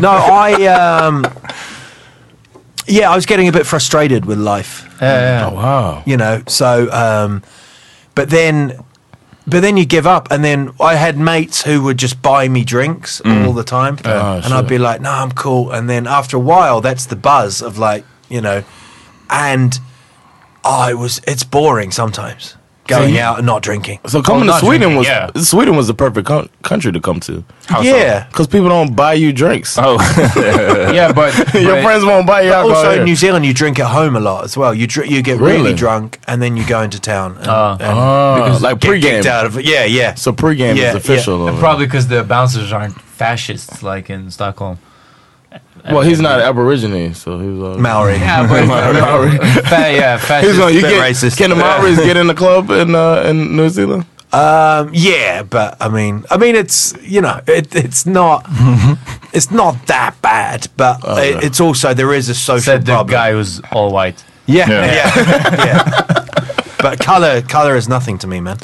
[SPEAKER 3] no, I, um, yeah, I was getting a bit frustrated with life,
[SPEAKER 2] Oh,
[SPEAKER 4] Yeah, yeah.
[SPEAKER 5] Wow.
[SPEAKER 3] you know. So, um, but then, but then you give up, and then I had mates who would just buy me drinks
[SPEAKER 5] Mm.
[SPEAKER 3] all the time,
[SPEAKER 5] Oh,
[SPEAKER 3] and I'd be like, "No, I'm cool." And then after a while, that's the buzz of like, you know, and I was. It's boring sometimes going
[SPEAKER 5] you-
[SPEAKER 3] out and not drinking.
[SPEAKER 5] So
[SPEAKER 2] Oh,
[SPEAKER 5] coming
[SPEAKER 4] not
[SPEAKER 5] to Sweden
[SPEAKER 4] drinking,
[SPEAKER 5] was
[SPEAKER 4] yeah.
[SPEAKER 5] Sweden was the perfect co- country to come to
[SPEAKER 3] Yeah.
[SPEAKER 5] because people don't buy you drinks. *laughs*
[SPEAKER 2] Oh,
[SPEAKER 4] yeah but,
[SPEAKER 5] Your
[SPEAKER 4] but-
[SPEAKER 5] friends won't buy you alcohol.
[SPEAKER 3] Also, in
[SPEAKER 5] here.
[SPEAKER 3] New Zealand, you drink at home a lot as well. You dr- you get really?
[SPEAKER 5] Really?
[SPEAKER 3] drunk and then you go into town. And,
[SPEAKER 4] Ah.
[SPEAKER 3] and
[SPEAKER 5] Oh,
[SPEAKER 3] because
[SPEAKER 5] like
[SPEAKER 3] get
[SPEAKER 5] pregame.
[SPEAKER 3] kicked out of it. Yeah, yeah.
[SPEAKER 5] So pregame
[SPEAKER 3] Yeah,
[SPEAKER 5] is official.
[SPEAKER 2] Oh,
[SPEAKER 5] over
[SPEAKER 4] Probably because the bouncers aren't fascists like in Stockholm.
[SPEAKER 5] there. Well, he's not Aborigine, so he was. Uh,
[SPEAKER 3] Maori.
[SPEAKER 4] Yeah, but *laughs* Fa- yeah,
[SPEAKER 5] He's
[SPEAKER 4] fascists.
[SPEAKER 5] gonna, you
[SPEAKER 3] Bit
[SPEAKER 5] get,
[SPEAKER 3] racist.
[SPEAKER 5] Can the Maoris get in the club in uh, in New Zealand?
[SPEAKER 3] Um, yeah, but I mean, I mean, it's you know, it, it's not, it's not that bad, but it, it's also there is a social
[SPEAKER 4] Said the
[SPEAKER 3] problem.
[SPEAKER 4] guy who's all white.
[SPEAKER 3] Yeah,
[SPEAKER 2] Yeah.
[SPEAKER 3] yeah, yeah. But color, color is nothing to me, man.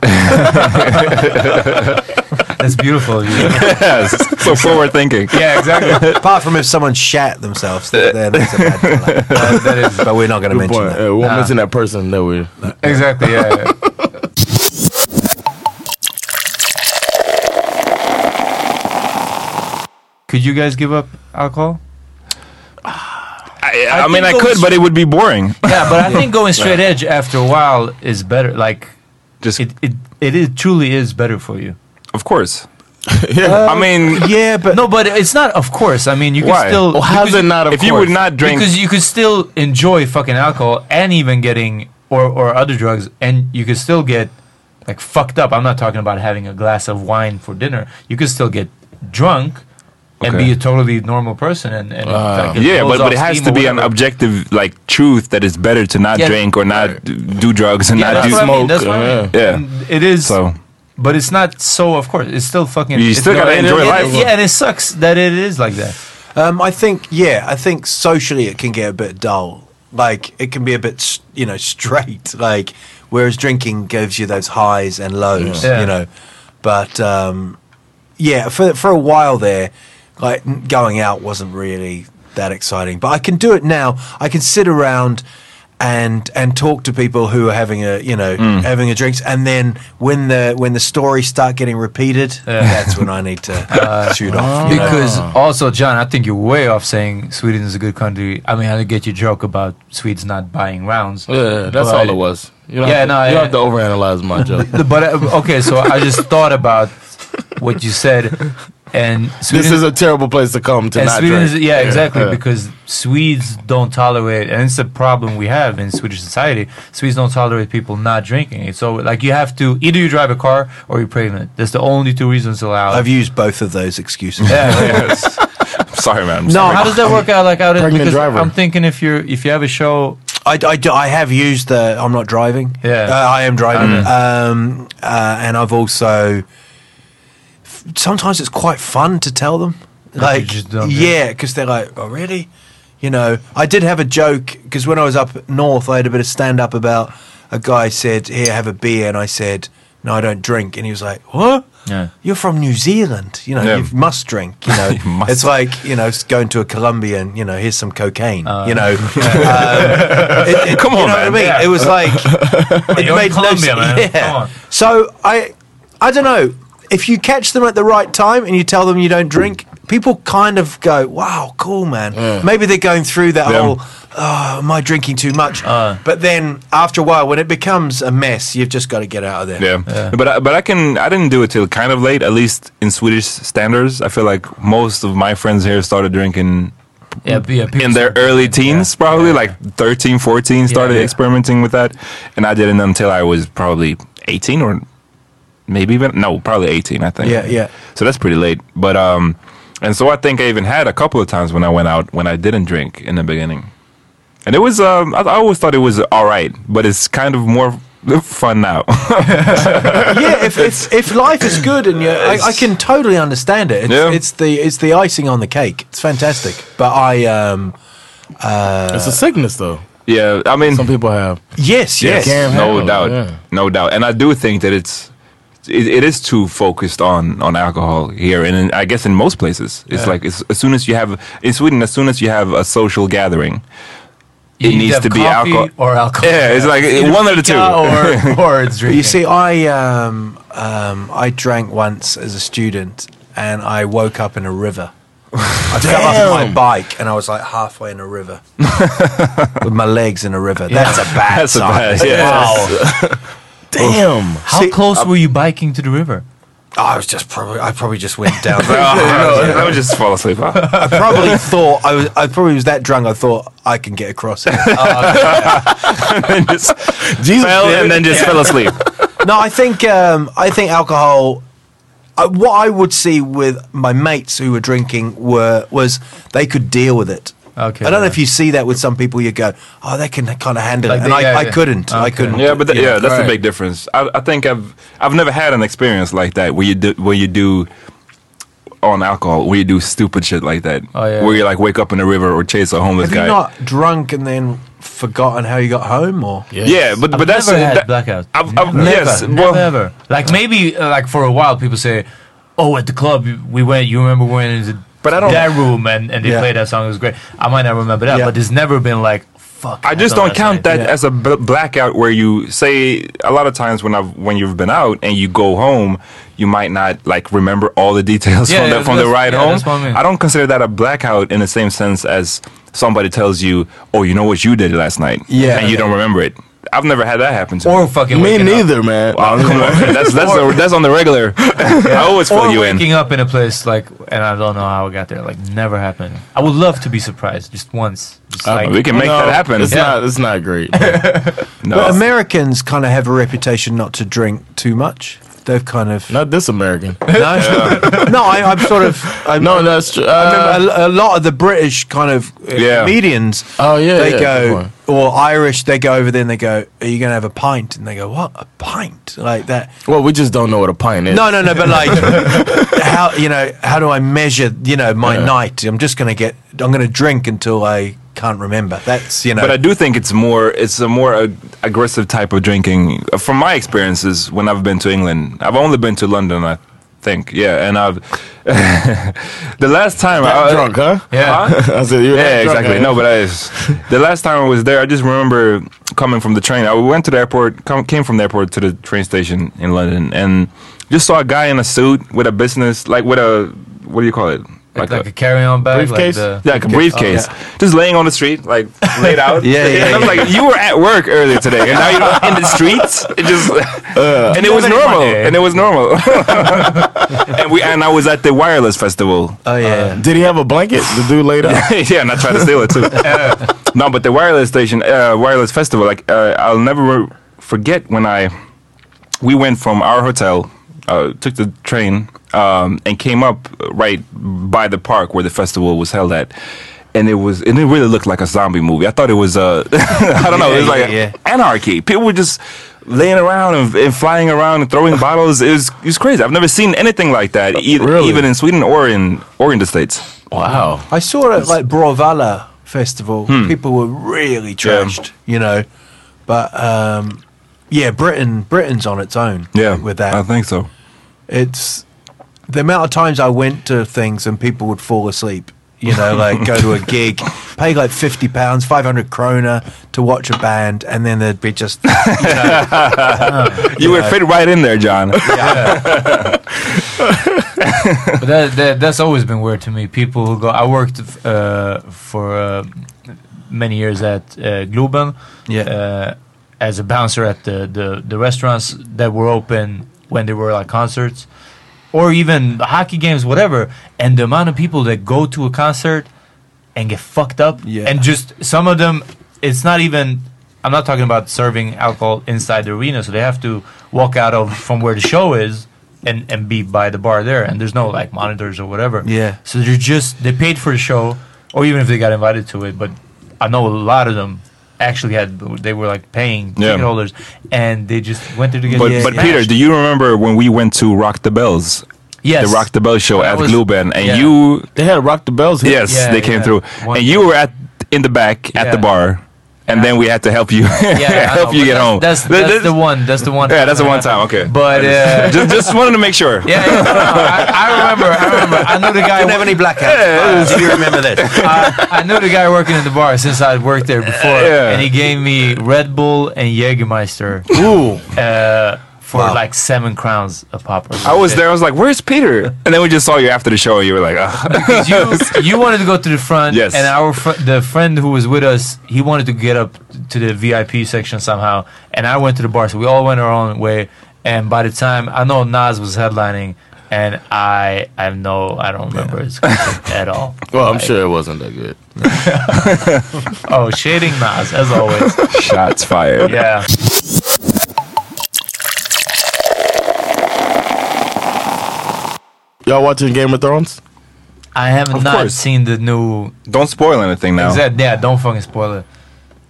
[SPEAKER 4] That's beautiful of you. *laughs*
[SPEAKER 1] yes. So forward thinking.
[SPEAKER 3] Yeah, exactly. Apart from if someone shat themselves, that, that is a bad color. that is, but we're not going to
[SPEAKER 2] Good
[SPEAKER 3] mention
[SPEAKER 2] point.
[SPEAKER 3] that.
[SPEAKER 2] Uh, we're missing that person that we.
[SPEAKER 5] *laughs*
[SPEAKER 4] exactly. Yeah. yeah. Could you guys give up alcohol?
[SPEAKER 1] I, I,
[SPEAKER 4] I
[SPEAKER 1] mean, I
[SPEAKER 4] think
[SPEAKER 1] could,
[SPEAKER 4] those-
[SPEAKER 1] but it would be boring.
[SPEAKER 4] *laughs* Yeah, but I think going straight edge after a while is better. Like
[SPEAKER 1] Just,
[SPEAKER 4] it, it, it is, truly is better for you.
[SPEAKER 1] of course.
[SPEAKER 2] Uh,
[SPEAKER 4] Uh,
[SPEAKER 1] I mean,
[SPEAKER 3] Yeah, but
[SPEAKER 4] No, but it's not. Of course, I mean you can
[SPEAKER 1] Why?
[SPEAKER 4] still.
[SPEAKER 1] Well,
[SPEAKER 2] how's
[SPEAKER 4] because
[SPEAKER 2] it not? Of
[SPEAKER 1] if you would not drink,
[SPEAKER 4] Because you could still enjoy fucking alcohol and even getting or or other drugs, and you could still get like fucked up. I'm not talking about having a glass of wine for dinner. You could still get drunk and
[SPEAKER 1] Okay. Ah.
[SPEAKER 4] be a totally normal person, and, and like, it
[SPEAKER 1] yeah,
[SPEAKER 4] blows
[SPEAKER 1] but, but
[SPEAKER 4] off
[SPEAKER 1] it has
[SPEAKER 4] steam
[SPEAKER 1] to
[SPEAKER 4] or
[SPEAKER 1] be an
[SPEAKER 4] whatever.
[SPEAKER 1] objective like truth that it's better to not
[SPEAKER 4] Yeah.
[SPEAKER 1] drink or not d- do drugs and
[SPEAKER 4] Yeah,
[SPEAKER 1] not
[SPEAKER 4] that's
[SPEAKER 1] do
[SPEAKER 4] what I mean.
[SPEAKER 1] smoke.
[SPEAKER 5] uh,
[SPEAKER 4] That's what I mean.
[SPEAKER 1] Yeah.
[SPEAKER 4] And It is.
[SPEAKER 1] So
[SPEAKER 4] But it's not so. Of course, it's still fucking.
[SPEAKER 1] You
[SPEAKER 4] it's
[SPEAKER 1] still gotta
[SPEAKER 4] not- and
[SPEAKER 1] enjoy
[SPEAKER 4] it-
[SPEAKER 1] life.
[SPEAKER 4] Yeah, and it sucks that it is like that.
[SPEAKER 3] Um, I think, yeah, I think socially it can get a bit dull. Like it can be a bit, s- you know, *laughs* straight. Like whereas drinking gives you those highs and lows,
[SPEAKER 4] Yeah.
[SPEAKER 3] you know. But um, yeah, for for a while there, like n- going out wasn't really that exciting. But I can do it now. I can sit around and and talk to people who are having a you know
[SPEAKER 4] Mm.
[SPEAKER 3] having a drinks, and then when the when the stories start getting repeated, that's when I need
[SPEAKER 4] *laughs*
[SPEAKER 3] to shoot off. you know?
[SPEAKER 4] Uh, Because also, John, I think you're way off saying Sweden is a good country. I mean, I get your joke about Swedes not buying rounds.
[SPEAKER 2] Yeah, that's
[SPEAKER 4] but-
[SPEAKER 2] all it was. You don't
[SPEAKER 4] Yeah,
[SPEAKER 2] have to,
[SPEAKER 4] no,
[SPEAKER 2] you
[SPEAKER 4] yeah.
[SPEAKER 2] don't have to overanalyze
[SPEAKER 5] *laughs*
[SPEAKER 2] my joke.
[SPEAKER 4] But uh, okay, so I
[SPEAKER 2] *laughs*
[SPEAKER 4] just thought about what you said, and Sweden
[SPEAKER 2] this is a terrible place to come to
[SPEAKER 4] and
[SPEAKER 2] not
[SPEAKER 4] Sweden
[SPEAKER 2] drink.
[SPEAKER 4] is, yeah, exactly
[SPEAKER 2] yeah.
[SPEAKER 4] because Swedes don't tolerate, and it's a problem we have in Swedish society. Swedes don't tolerate people not drinking. It's so like you have to either you drive a car or you're pregnant. That's the only two reasons allowed.
[SPEAKER 3] I've used both of those excuses.
[SPEAKER 4] yeah.
[SPEAKER 2] *laughs*
[SPEAKER 1] sorry, man. I'm
[SPEAKER 4] No,
[SPEAKER 1] sorry.
[SPEAKER 4] how does that work out? Like out in-
[SPEAKER 2] Pregnant
[SPEAKER 4] because
[SPEAKER 2] driver.
[SPEAKER 4] I'm thinking if you're if you have a show
[SPEAKER 3] I, I do- I have used the I'm not driving.
[SPEAKER 4] Yeah. Mm.
[SPEAKER 3] Uh, I am driving. Um, uh, and I've also f- sometimes it's quite fun to tell them. Like,
[SPEAKER 4] just don't do it.
[SPEAKER 3] yeah, because they're like, oh, really? You know, I did have a joke because when I was up north, I had a bit of stand up about a guy said, here, have a beer. And I said, no, I don't drink. And he was like, what?
[SPEAKER 4] Yeah.
[SPEAKER 3] You're from New Zealand, you know.
[SPEAKER 1] Yeah.
[SPEAKER 3] You must drink, you know.
[SPEAKER 1] *laughs* You must.
[SPEAKER 3] It's like you know, s- going to a Colombia and you know, here's some cocaine, you
[SPEAKER 1] *laughs*
[SPEAKER 3] know. Um, it- it-
[SPEAKER 1] Oh. Come
[SPEAKER 3] you
[SPEAKER 1] on,
[SPEAKER 3] know
[SPEAKER 1] man.
[SPEAKER 3] What I mean?
[SPEAKER 4] Yeah.
[SPEAKER 3] It was
[SPEAKER 1] *laughs*
[SPEAKER 3] like it
[SPEAKER 4] You're in
[SPEAKER 3] made no s-
[SPEAKER 4] Colombia, man.
[SPEAKER 3] Yeah.
[SPEAKER 4] Come on.
[SPEAKER 3] So I, I don't know. If you catch them at the right time and you tell them you don't drink, people kind of go, "Wow, cool, man." Maybe they're going through that
[SPEAKER 1] Yeah. Uh.
[SPEAKER 3] whole, "Oh, am I drinking too much?" but then after a while, when it becomes a mess, you've just got to get out of there.
[SPEAKER 1] Yeah. but I, but I can I didn't do it till kind of late. At least in Swedish standards, I feel like most of my friends here started drinking
[SPEAKER 4] yeah, be a
[SPEAKER 1] in their early teens, probably like 13, 14. Started
[SPEAKER 4] yeah.
[SPEAKER 1] experimenting with that, and I didn't until I was probably eighteen or maybe even no, probably eighteen. I think.
[SPEAKER 3] Yeah, yeah.
[SPEAKER 1] So that's pretty late. But um, and so I think I even had a couple of times when I went out when I didn't drink in the beginning, and it was um, I, I always thought it was all right, but it's kind of more *laughs* fun now. *laughs*
[SPEAKER 3] yeah, if, if if life is good and you, I, I can totally understand it. It's,
[SPEAKER 1] Yeah.
[SPEAKER 3] it's the it's the icing on the cake. It's fantastic. But I um
[SPEAKER 2] It's a sickness though.
[SPEAKER 1] yeah, I mean,
[SPEAKER 2] Some people have.
[SPEAKER 3] yes yes,
[SPEAKER 2] Can't
[SPEAKER 1] no
[SPEAKER 2] handle it,
[SPEAKER 1] doubt,
[SPEAKER 2] yeah.
[SPEAKER 1] no doubt. And I do think that it's it, it is too focused on on alcohol here, and in, I guess in most places, it's like it's, as soon as you have in Sweden, as soon as you have a social gathering, it needs to be alcohol.
[SPEAKER 4] or alcohol.
[SPEAKER 1] Yeah, it's like
[SPEAKER 4] Either
[SPEAKER 1] one of the two. *laughs*
[SPEAKER 4] vodka *laughs* or or it's drinking.
[SPEAKER 3] You see, I um um I drank once as a student and I woke up in a river. I fell off my bike and I was like halfway in a
[SPEAKER 1] *laughs*
[SPEAKER 3] river with my legs in a river. That's a bad
[SPEAKER 1] That's a
[SPEAKER 3] sign.
[SPEAKER 1] bad- yeah.
[SPEAKER 3] Wow.
[SPEAKER 1] Uh,
[SPEAKER 2] Damn.
[SPEAKER 4] how
[SPEAKER 3] see-
[SPEAKER 4] close were you biking to the river?
[SPEAKER 3] I was just probably I probably just went
[SPEAKER 1] *laughs*
[SPEAKER 3] down.
[SPEAKER 1] Oh, I would just fall asleep. huh? *laughs*
[SPEAKER 3] I probably thought I was I probably was that drunk I thought I can get across it.
[SPEAKER 1] and just fell and then just fell asleep.
[SPEAKER 3] no, I think um, I think alcohol. Uh, what I would see with my mates who were drinking were was they could deal with it.
[SPEAKER 4] Okay,
[SPEAKER 3] I don't know
[SPEAKER 4] yeah.
[SPEAKER 3] if you see that with some people. You go, oh, they can kind of handle
[SPEAKER 4] Like
[SPEAKER 3] it,
[SPEAKER 4] they-
[SPEAKER 3] and I,
[SPEAKER 4] yeah,
[SPEAKER 3] I
[SPEAKER 4] yeah.
[SPEAKER 3] couldn't. I couldn't.
[SPEAKER 1] Yeah, but th- yeah, that's the
[SPEAKER 2] right.
[SPEAKER 1] big difference. I, I think I've I've never had an experience like that where you do where you do on alcohol where you do stupid shit like that.
[SPEAKER 4] Oh, yeah.
[SPEAKER 1] Where you like wake up in a river or chase a homeless
[SPEAKER 3] Have you
[SPEAKER 1] guy.
[SPEAKER 3] not drunk and then forgotten how you got home or?
[SPEAKER 2] Yeah, but,
[SPEAKER 4] I've
[SPEAKER 2] but that's
[SPEAKER 4] never
[SPEAKER 2] uh,
[SPEAKER 4] had
[SPEAKER 2] that-
[SPEAKER 4] blackouts.
[SPEAKER 2] I've, I've,
[SPEAKER 4] Never.
[SPEAKER 2] Yes,
[SPEAKER 4] never,
[SPEAKER 2] well,
[SPEAKER 4] ever. Like maybe uh, like for a while, people say, "Oh, at the club we went. You remember when it was
[SPEAKER 2] But I don't-
[SPEAKER 4] that room and, and they
[SPEAKER 3] Yeah.
[SPEAKER 4] played that song. It was great. I might not remember that,
[SPEAKER 3] Yeah.
[SPEAKER 4] but it's never been like fuck.
[SPEAKER 2] I just
[SPEAKER 4] saw
[SPEAKER 2] don't
[SPEAKER 4] that
[SPEAKER 2] count
[SPEAKER 4] night."
[SPEAKER 2] that as a bl- blackout where you say a lot of times when I've when you've been out and you go home, you might not like remember all the *laughs* details
[SPEAKER 4] Yeah,
[SPEAKER 2] from
[SPEAKER 4] yeah,
[SPEAKER 2] the, from the
[SPEAKER 4] that's-
[SPEAKER 2] ride
[SPEAKER 4] yeah,
[SPEAKER 2] home.
[SPEAKER 4] that's what I mean.
[SPEAKER 2] don't consider that a blackout in the same sense as somebody tells you, "Oh, you know what you did last night,"
[SPEAKER 3] Yeah.
[SPEAKER 2] and you don't remember it. I've never had that happen *laughs* to
[SPEAKER 4] Or
[SPEAKER 2] me.
[SPEAKER 4] fucking
[SPEAKER 5] Me
[SPEAKER 4] waking Up.
[SPEAKER 5] neither, man.
[SPEAKER 2] Wow,
[SPEAKER 4] *laughs*
[SPEAKER 2] come on, man. That's that's, a, that's on the regular. I always fill
[SPEAKER 4] Or
[SPEAKER 2] you in.
[SPEAKER 4] waking up in a place like, and I don't know how I got there. Like, never happened. I would love to be surprised just once. Just like,
[SPEAKER 2] Uh, we can make that happen.
[SPEAKER 5] It's
[SPEAKER 2] Yeah.
[SPEAKER 5] not. It's not great.
[SPEAKER 2] *laughs*
[SPEAKER 5] man.
[SPEAKER 2] No.
[SPEAKER 3] But Americans kind of have a reputation not to drink too much. They've kind of no.
[SPEAKER 5] not this American.
[SPEAKER 3] no, I, I'm sort of. i
[SPEAKER 5] No, that's true.
[SPEAKER 3] I
[SPEAKER 5] Uh,
[SPEAKER 3] remember a, a lot of the British kind of uh,
[SPEAKER 2] Yeah.
[SPEAKER 3] comedians.
[SPEAKER 5] Oh, yeah,
[SPEAKER 3] they
[SPEAKER 5] yeah, good
[SPEAKER 3] go
[SPEAKER 5] point.
[SPEAKER 3] or Irish. They go over there and they go, "Are you going to have a pint?" And they go, "What a pint?" Like that.
[SPEAKER 5] well, we just don't know what a pint is.
[SPEAKER 3] No, no,
[SPEAKER 5] *laughs*
[SPEAKER 3] no. But like, how you know? How do I measure? You know, my night. I'm just going to get. I'm going to drink until I can't remember. That's you know.
[SPEAKER 2] But I do think it's more it's a more uh, aggressive type of drinking. From my experiences when I've been to England, I've only been to London, I think. Yeah, and I've *laughs* the last time I
[SPEAKER 5] I'm drunk, huh?
[SPEAKER 2] Yeah.
[SPEAKER 5] *laughs* I said, you're not
[SPEAKER 2] Yeah,
[SPEAKER 5] drunk,
[SPEAKER 2] exactly.
[SPEAKER 5] huh?
[SPEAKER 2] No, but I, the last time I was there, I just remember coming from the train. I went to the airport, come, came from the airport to the train station in London, and just saw a guy in a suit with a business, like with a what do you call it?
[SPEAKER 4] like, like a carry-on bag,
[SPEAKER 5] Briefcase?
[SPEAKER 4] Like
[SPEAKER 2] Oh,
[SPEAKER 4] the,
[SPEAKER 2] Yeah, like a briefcase, just laying on the street, like laid *laughs* out.
[SPEAKER 3] Yeah, yeah,
[SPEAKER 2] And I'm like, you were at work earlier today, and now you're in the streets. *laughs* It just and it was
[SPEAKER 4] Nobody
[SPEAKER 2] normal,
[SPEAKER 4] money.
[SPEAKER 2] and it was *laughs* normal. and we and I was at the wireless festival.
[SPEAKER 3] oh yeah.
[SPEAKER 5] Did he have a blanket? The dude laid out.
[SPEAKER 2] *laughs* yeah, and I tried to steal it too. no, but the wireless station, uh, wireless festival. Like uh, I'll never re- forget when I we went from our hotel, uh, took the train, um, and came up right by the park where the festival was held at. And it was, and it really looked like a zombie movie. I thought it was, uh, *laughs* I don't know, it was
[SPEAKER 3] Yeah,
[SPEAKER 2] like
[SPEAKER 3] yeah,
[SPEAKER 2] anarchy. People were just laying around and, and flying around and throwing bottles. It was, it was crazy. I've never seen anything like that, e-
[SPEAKER 5] Really?
[SPEAKER 2] even in Sweden or in or in the states.
[SPEAKER 5] Wow.
[SPEAKER 3] I saw it at like Brovalla Festival.
[SPEAKER 2] Hmm.
[SPEAKER 3] People were really trashed, you know. But um, yeah, Britain Britain's on its own. with that,
[SPEAKER 2] I think so.
[SPEAKER 3] it's the amount of times I went to things and people would fall asleep. You know, like go to
[SPEAKER 5] *laughs*
[SPEAKER 3] a gig, pay like fifty pounds, five hundred krona to watch a band, and then there'd be just
[SPEAKER 2] You would fit right in there, *laughs* John.
[SPEAKER 4] *laughs* But that, that that's always been weird to me. People who go, I worked uh, for uh, many years at uh, Globen,
[SPEAKER 3] Yeah.
[SPEAKER 4] uh, as a bouncer at the, the the restaurants that were open when there were like concerts, or even hockey games, whatever. And the amount of people that go to a concert and get fucked up,
[SPEAKER 3] Yeah.
[SPEAKER 4] and just some of them, it's not even. I'm not talking about serving alcohol inside the arena, so they have to walk out of from where the show is and and be by the bar there, and there's no like monitors or whatever.
[SPEAKER 3] Yeah.
[SPEAKER 4] So they're just they paid for the show, or even if they got invited to it. But I know a lot of them actually had they were like paying
[SPEAKER 2] Yeah.
[SPEAKER 4] ticket holders, and they just went there to get.
[SPEAKER 2] But,
[SPEAKER 4] yeah,
[SPEAKER 2] but Peter, do you remember when we went to Rock the Bells?
[SPEAKER 4] Yes.
[SPEAKER 2] The Rock the Bells show
[SPEAKER 4] That
[SPEAKER 2] at
[SPEAKER 4] was-
[SPEAKER 2] Globen, and
[SPEAKER 4] yeah.
[SPEAKER 2] you,
[SPEAKER 5] They had *laughs* rock the bells. Here.
[SPEAKER 2] yes,
[SPEAKER 4] Yeah,
[SPEAKER 2] they came
[SPEAKER 4] yeah.
[SPEAKER 2] through,
[SPEAKER 4] One-
[SPEAKER 2] and you were at in the back at the
[SPEAKER 4] Yeah.
[SPEAKER 2] bar, and then we had to help you, *laughs*
[SPEAKER 4] Yeah, I
[SPEAKER 2] help
[SPEAKER 4] know,
[SPEAKER 2] you get
[SPEAKER 4] but that's-
[SPEAKER 2] home.
[SPEAKER 4] That's,
[SPEAKER 2] Th-
[SPEAKER 4] that's
[SPEAKER 2] this-
[SPEAKER 4] the one. That's the one.
[SPEAKER 2] Yeah, that's the
[SPEAKER 4] time
[SPEAKER 2] one
[SPEAKER 4] that
[SPEAKER 2] time.
[SPEAKER 4] happened.
[SPEAKER 2] Okay,
[SPEAKER 4] *laughs* But uh,
[SPEAKER 2] *laughs* just just wanted to make sure.
[SPEAKER 4] *laughs* yeah, yeah, no, I, I remember. I remember. I knew the guy.
[SPEAKER 3] don't have any blackouts. Uh, if you remember this?
[SPEAKER 4] *laughs* I, I knew the guy working in the bar since I'd worked there before,
[SPEAKER 2] Yeah.
[SPEAKER 4] and he gave me Red Bull and Jägermeister
[SPEAKER 5] Ooh.
[SPEAKER 4] uh, for
[SPEAKER 3] Wow.
[SPEAKER 4] like seven crowns a pop. or
[SPEAKER 2] I was
[SPEAKER 4] something.
[SPEAKER 2] there. I was like, "Where's Peter?" And then we just saw you after the show. and You were like, ah.
[SPEAKER 4] Because you, you wanted to go to the front,
[SPEAKER 2] Yes.
[SPEAKER 4] and our fr- the friend who was with us, he wanted to get up to the VIP section somehow, and I went to the bar, so we all went our own way. And by the time I know Nas was headlining, and I I have no I don't remember his concert
[SPEAKER 2] *laughs*
[SPEAKER 4] at all.
[SPEAKER 5] *laughs* Well, I'm sure it wasn't that good.
[SPEAKER 4] Oh, shading Nas as
[SPEAKER 2] *laughs*
[SPEAKER 4] always.
[SPEAKER 2] "Shots fired."
[SPEAKER 4] Yeah.
[SPEAKER 5] Y'all watching Game of Thrones?
[SPEAKER 4] I have
[SPEAKER 2] Of
[SPEAKER 4] not
[SPEAKER 2] course.
[SPEAKER 4] seen the new.
[SPEAKER 2] Don't spoil anything now.
[SPEAKER 1] *laughs*
[SPEAKER 4] Exact, yeah, don't fucking spoil it.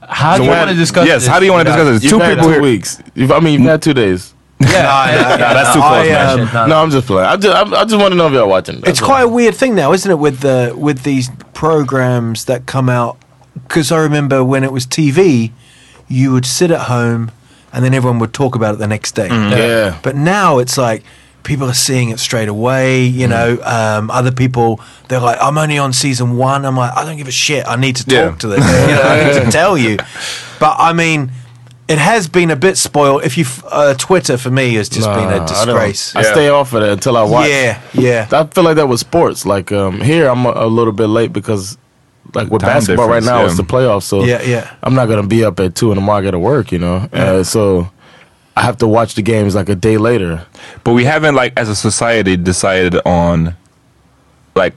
[SPEAKER 4] How
[SPEAKER 2] So
[SPEAKER 4] do you
[SPEAKER 2] what-
[SPEAKER 4] want to discuss?
[SPEAKER 2] Yes,
[SPEAKER 4] this
[SPEAKER 2] how do you want to
[SPEAKER 4] without-
[SPEAKER 2] discuss this?
[SPEAKER 5] You've
[SPEAKER 2] two
[SPEAKER 5] had
[SPEAKER 2] people
[SPEAKER 5] two
[SPEAKER 2] here.
[SPEAKER 5] weeks. You've, I mean, you've had two days.
[SPEAKER 4] Yeah, yeah, yeah,
[SPEAKER 2] that's
[SPEAKER 3] Oh,
[SPEAKER 2] too close, man.
[SPEAKER 4] shit, no,
[SPEAKER 5] no, I'm just playing. I just, I, I just want to know if y'all watching.
[SPEAKER 3] It's quite a weird thing now, isn't it? With the with these programs that come out because I remember when it was TV, you would sit at home and then everyone would talk about it the next day.
[SPEAKER 6] Mm. Yeah.
[SPEAKER 3] But now it's like people are seeing it straight away.
[SPEAKER 6] Mm.
[SPEAKER 3] You know, um, other people they're like, "I'm only on season one." I'm like, "I don't give a shit. I need to talk
[SPEAKER 2] Yeah.
[SPEAKER 3] to them. you know,
[SPEAKER 6] *laughs*
[SPEAKER 3] I need to tell you." But I mean, it has been a bit spoiled. If you, f- uh, Twitter for me has just been
[SPEAKER 6] Nah,
[SPEAKER 3] a
[SPEAKER 6] I don't-
[SPEAKER 3] disgrace.
[SPEAKER 6] I, stay off of that until I watch.
[SPEAKER 3] Yeah, yeah.
[SPEAKER 6] I feel like that with sports. Like um, here, I'm a, a little bit late because, like with
[SPEAKER 2] Time
[SPEAKER 6] basketball right now,
[SPEAKER 2] difference,
[SPEAKER 6] it's
[SPEAKER 2] yeah.
[SPEAKER 6] the playoffs. So
[SPEAKER 3] Yeah, yeah.
[SPEAKER 6] I'm not gonna be up at two in the morning to work. You know, uh, so I have to watch the games like a day later.
[SPEAKER 2] but we haven't like as a society decided on like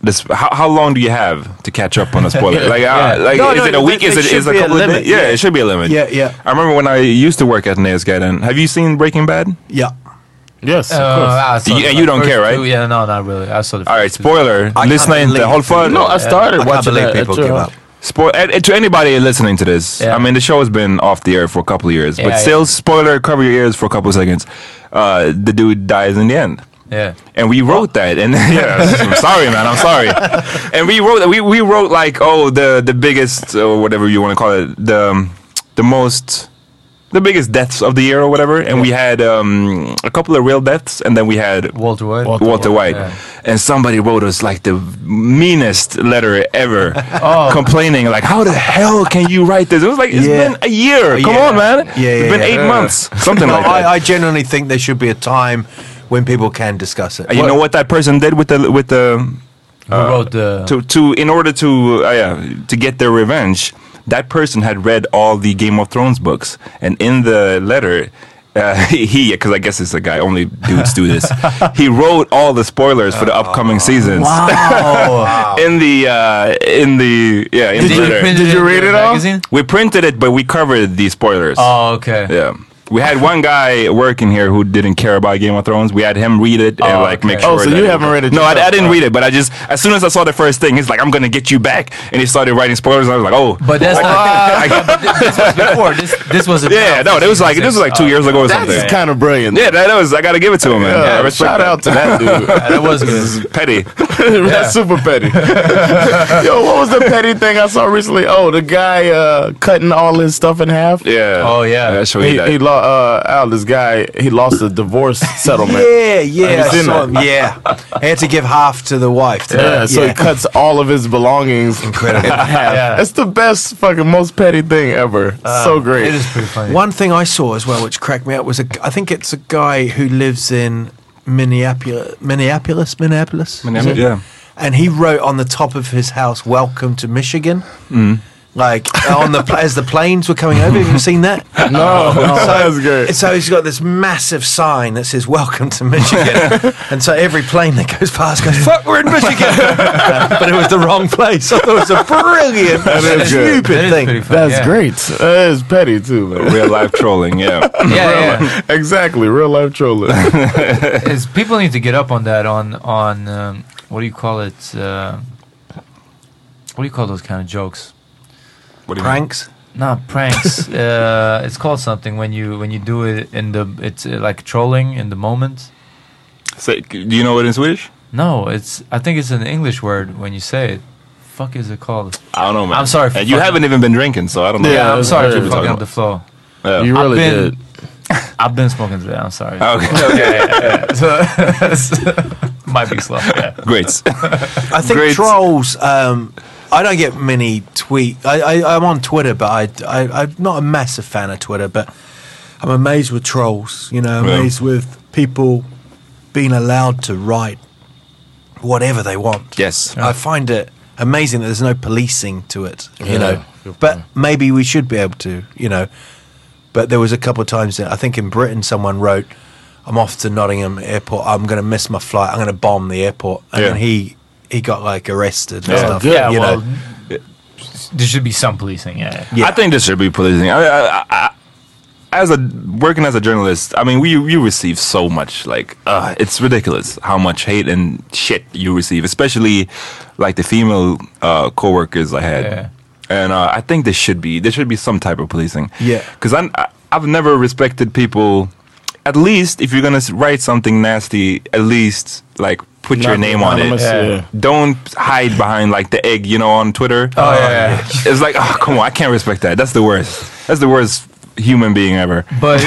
[SPEAKER 2] this how, how long do you have to catch up on a spoiler like uh, like
[SPEAKER 3] No,
[SPEAKER 2] is
[SPEAKER 3] no,
[SPEAKER 2] it a week
[SPEAKER 3] there-
[SPEAKER 2] is
[SPEAKER 3] there
[SPEAKER 2] it
[SPEAKER 3] should
[SPEAKER 2] is a
[SPEAKER 3] be a
[SPEAKER 2] couple
[SPEAKER 3] limit,
[SPEAKER 2] of days yeah,
[SPEAKER 3] yeah.
[SPEAKER 2] it should be a limit
[SPEAKER 3] Yeah, yeah.
[SPEAKER 2] i remember when i used to work at Nesgaden. have you seen breaking bad
[SPEAKER 3] yeah.
[SPEAKER 6] Yes, of course.
[SPEAKER 4] Uh, I saw
[SPEAKER 2] You-
[SPEAKER 4] the
[SPEAKER 2] and you don't
[SPEAKER 4] first
[SPEAKER 2] care, right?
[SPEAKER 4] two- yeah, no, not really. I saw the.
[SPEAKER 2] all right
[SPEAKER 4] first two.
[SPEAKER 2] spoiler
[SPEAKER 3] can't
[SPEAKER 2] listening to
[SPEAKER 3] believe-
[SPEAKER 2] whole fun
[SPEAKER 6] no, I started
[SPEAKER 3] I can't
[SPEAKER 6] watching
[SPEAKER 3] believe
[SPEAKER 6] that.
[SPEAKER 3] people
[SPEAKER 6] at, uh,
[SPEAKER 3] give up.
[SPEAKER 2] Spoil uh, to anybody listening to this.
[SPEAKER 4] Yeah.
[SPEAKER 2] I mean, the show has been off the air for a couple of years,
[SPEAKER 4] Yeah,
[SPEAKER 2] but still, spoiler, cover your ears for a couple of seconds. Uh, the dude dies in the end,
[SPEAKER 4] Yeah.
[SPEAKER 2] and we
[SPEAKER 4] Oh.
[SPEAKER 2] wrote that. And *laughs* yeah, I'm sorry, man, I'm sorry. And we wrote we we wrote like oh the the biggest or whatever you want to call it the um, the most the biggest deaths of the year or whatever. And we had um, a couple of real deaths, and then we had
[SPEAKER 4] Walter White.
[SPEAKER 2] Walter, White.
[SPEAKER 4] Yeah.
[SPEAKER 2] And somebody wrote us like the meanest letter
[SPEAKER 3] *laughs*
[SPEAKER 2] ever, complaining like, "How the hell can you write this?" It was like it's
[SPEAKER 3] Oh. Yeah.
[SPEAKER 2] been a year. Come
[SPEAKER 3] Yeah.
[SPEAKER 2] on, man.
[SPEAKER 3] Yeah,
[SPEAKER 2] it's
[SPEAKER 3] yeah,
[SPEAKER 2] been
[SPEAKER 3] yeah.
[SPEAKER 2] eight
[SPEAKER 3] Yeah. *laughs*
[SPEAKER 2] months, something
[SPEAKER 3] No,
[SPEAKER 2] like that.
[SPEAKER 3] I, I genuinely think there should be a time when people can discuss it.
[SPEAKER 2] and you know what that person did with the with the uh,
[SPEAKER 4] Who wrote the?
[SPEAKER 2] to to in order to uh, yeah, to get their revenge, that person had read all the Game of Thrones books, and in the letter. Uh, *laughs* he, because I guess it's a guy. Only dudes do
[SPEAKER 3] *laughs*
[SPEAKER 2] this. he wrote all the spoilers for the upcoming seasons
[SPEAKER 3] Wow.
[SPEAKER 2] in the uh, in the yeah. In the
[SPEAKER 4] you
[SPEAKER 2] letter.
[SPEAKER 4] print it Did you in read the it all? magazine?
[SPEAKER 2] We printed it, but we covered the spoilers.
[SPEAKER 4] *laughs* oh, okay.
[SPEAKER 2] Yeah. We had one guy working here who didn't care about Game of Thrones. We had him read it and
[SPEAKER 4] Oh,
[SPEAKER 2] like make
[SPEAKER 4] okay.
[SPEAKER 2] sure.
[SPEAKER 6] Oh, so
[SPEAKER 2] that
[SPEAKER 6] you haven't read it
[SPEAKER 2] No, I, I
[SPEAKER 6] yourself, Oh.
[SPEAKER 2] didn't
[SPEAKER 6] huh?
[SPEAKER 2] read it, but I just as soon as I saw the first thing, he's like, "I'm gonna get you back," and he started writing spoilers. And I was like, "Oh,
[SPEAKER 4] But that's
[SPEAKER 2] I-
[SPEAKER 4] *laughs* not. this was before. This this was.
[SPEAKER 2] yeah, no, that was like this was
[SPEAKER 4] Oh,
[SPEAKER 2] like two years ago or something."
[SPEAKER 6] That's kind of brilliant.
[SPEAKER 2] yeah, that, that was. I gotta give it to him, man.
[SPEAKER 6] Yeah,
[SPEAKER 2] I respect
[SPEAKER 6] shout
[SPEAKER 2] that.
[SPEAKER 6] out to that dude.
[SPEAKER 4] That was
[SPEAKER 2] *laughs* This is petty.
[SPEAKER 6] *laughs* That's super petty. *laughs* Yo, what was the petty thing I saw recently? Oh, the guy uh, cutting all his stuff in half.
[SPEAKER 2] Yeah.
[SPEAKER 4] Oh, yeah.
[SPEAKER 2] That's what he,
[SPEAKER 6] He,
[SPEAKER 2] did.
[SPEAKER 6] he lost. Uh, Al, this guy, he lost a
[SPEAKER 4] *laughs*
[SPEAKER 6] divorce settlement.
[SPEAKER 3] Yeah, yeah,
[SPEAKER 6] Have you
[SPEAKER 3] I
[SPEAKER 6] seen
[SPEAKER 3] saw
[SPEAKER 6] that?
[SPEAKER 3] him, yeah. He had to give half to the wife. didn't
[SPEAKER 6] Yeah, so he
[SPEAKER 3] yeah.
[SPEAKER 4] *laughs*
[SPEAKER 6] cuts all of his belongings Incredible. in half.
[SPEAKER 4] Yeah. Uh,
[SPEAKER 6] It's the best fucking most petty thing ever. so great.
[SPEAKER 4] It is pretty funny.
[SPEAKER 3] One thing I saw as well, which cracked me up, was a, I think it's a guy who lives in Minneapolis, Minneapolis, Minneapolis,
[SPEAKER 2] Minneapolis, yeah.
[SPEAKER 3] and he wrote on the top of his house, "Welcome to Michigan."
[SPEAKER 2] Mm.
[SPEAKER 3] Like on the pla- as the planes were coming over, have you seen that?
[SPEAKER 2] *laughs*
[SPEAKER 4] Oh,
[SPEAKER 6] No, *laughs* that's
[SPEAKER 3] And
[SPEAKER 6] great.
[SPEAKER 3] *laughs* So he's got this massive sign that says "Welcome to
[SPEAKER 4] *laughs*
[SPEAKER 3] Michigan," and so every plane that goes past goes, "Fuck, we're in Michigan," but it was the wrong place. I thought it was a brilliant,
[SPEAKER 6] is good.
[SPEAKER 3] stupid
[SPEAKER 4] That is
[SPEAKER 3] thing.
[SPEAKER 4] pretty funny.
[SPEAKER 6] That's
[SPEAKER 4] yeah.
[SPEAKER 6] great. That is petty too, man.
[SPEAKER 2] real life trolling.
[SPEAKER 4] *laughs*
[SPEAKER 2] Yeah.
[SPEAKER 4] Yeah, yeah.
[SPEAKER 6] exactly. Real life trolling.
[SPEAKER 4] It's, people need to get up on that. On on um, what do you call it? Uh, what do you call those kind of jokes?
[SPEAKER 2] What do you mean?
[SPEAKER 3] Pranks.
[SPEAKER 4] Not
[SPEAKER 6] *laughs*
[SPEAKER 4] pranks. uh, it's called something when you when you do it in the. It's uh, like trolling in the moment.
[SPEAKER 2] Say, do you know it in Swedish?
[SPEAKER 4] No, it's. I think it's an English word when you say it. Fuck is it called?
[SPEAKER 2] I don't know, man.
[SPEAKER 4] I'm sorry for
[SPEAKER 2] And you
[SPEAKER 4] fucking-
[SPEAKER 2] haven't even been drinking, so I don't know.
[SPEAKER 6] Yeah,
[SPEAKER 4] Yeah, I'm
[SPEAKER 6] that's
[SPEAKER 4] sorry
[SPEAKER 6] what
[SPEAKER 4] for
[SPEAKER 6] we're
[SPEAKER 4] fucking
[SPEAKER 6] talking
[SPEAKER 4] up the flow.
[SPEAKER 6] you really
[SPEAKER 4] I've been,
[SPEAKER 6] did.
[SPEAKER 4] *laughs* I've been smoking today. I'm sorry. *laughs*
[SPEAKER 2] Okay. okay.
[SPEAKER 3] *laughs*
[SPEAKER 4] So- might be slow. Yeah.
[SPEAKER 2] *laughs* Great.
[SPEAKER 3] I think
[SPEAKER 2] Great.
[SPEAKER 3] trolls. Um, I don't get many tweet. I, I, I'm on Twitter, but I, I, I'm not a massive fan of Twitter. But I'm amazed with trolls. You know,
[SPEAKER 2] Yeah.
[SPEAKER 3] amazed with people being allowed to write whatever they want.
[SPEAKER 2] Yes.
[SPEAKER 3] I find it amazing that there's no policing to it. You
[SPEAKER 6] Yeah,
[SPEAKER 3] know,
[SPEAKER 6] good
[SPEAKER 3] but maybe we should be able to. You know, but there was a couple of times that I think in Britain someone wrote, "I'm off to Nottingham Airport. I'm going to miss my flight. I'm going to bomb the airport." And
[SPEAKER 2] Yeah.
[SPEAKER 3] then he he got like arrested and
[SPEAKER 2] Yeah,
[SPEAKER 3] stuff.
[SPEAKER 6] yeah,
[SPEAKER 3] you
[SPEAKER 4] well,
[SPEAKER 3] know.
[SPEAKER 4] there should be some policing. Yeah.
[SPEAKER 3] Yeah.
[SPEAKER 2] I think this should be policing. I, I, I, as a working as a journalist, I mean, we you receive so much. Like, uh, it's ridiculous how much hate and shit you receive, especially like the female uh, coworkers I had.
[SPEAKER 4] Yeah.
[SPEAKER 2] And uh, I think there should be there should be some type of policing.
[SPEAKER 3] Yeah.
[SPEAKER 2] because I I've never respected people. At least if you're gonna s- write something nasty, at least like
[SPEAKER 1] put your
[SPEAKER 7] Not
[SPEAKER 1] name on it.
[SPEAKER 7] anonymous, Yeah. yeah.
[SPEAKER 1] Don't hide behind like the egg, you know, on Twitter.
[SPEAKER 7] Oh, yeah, yeah.
[SPEAKER 1] Um, *laughs* It's like, oh, come on, I can't respect that. That's the worst. That's the worst human being ever.
[SPEAKER 3] *laughs*
[SPEAKER 4] But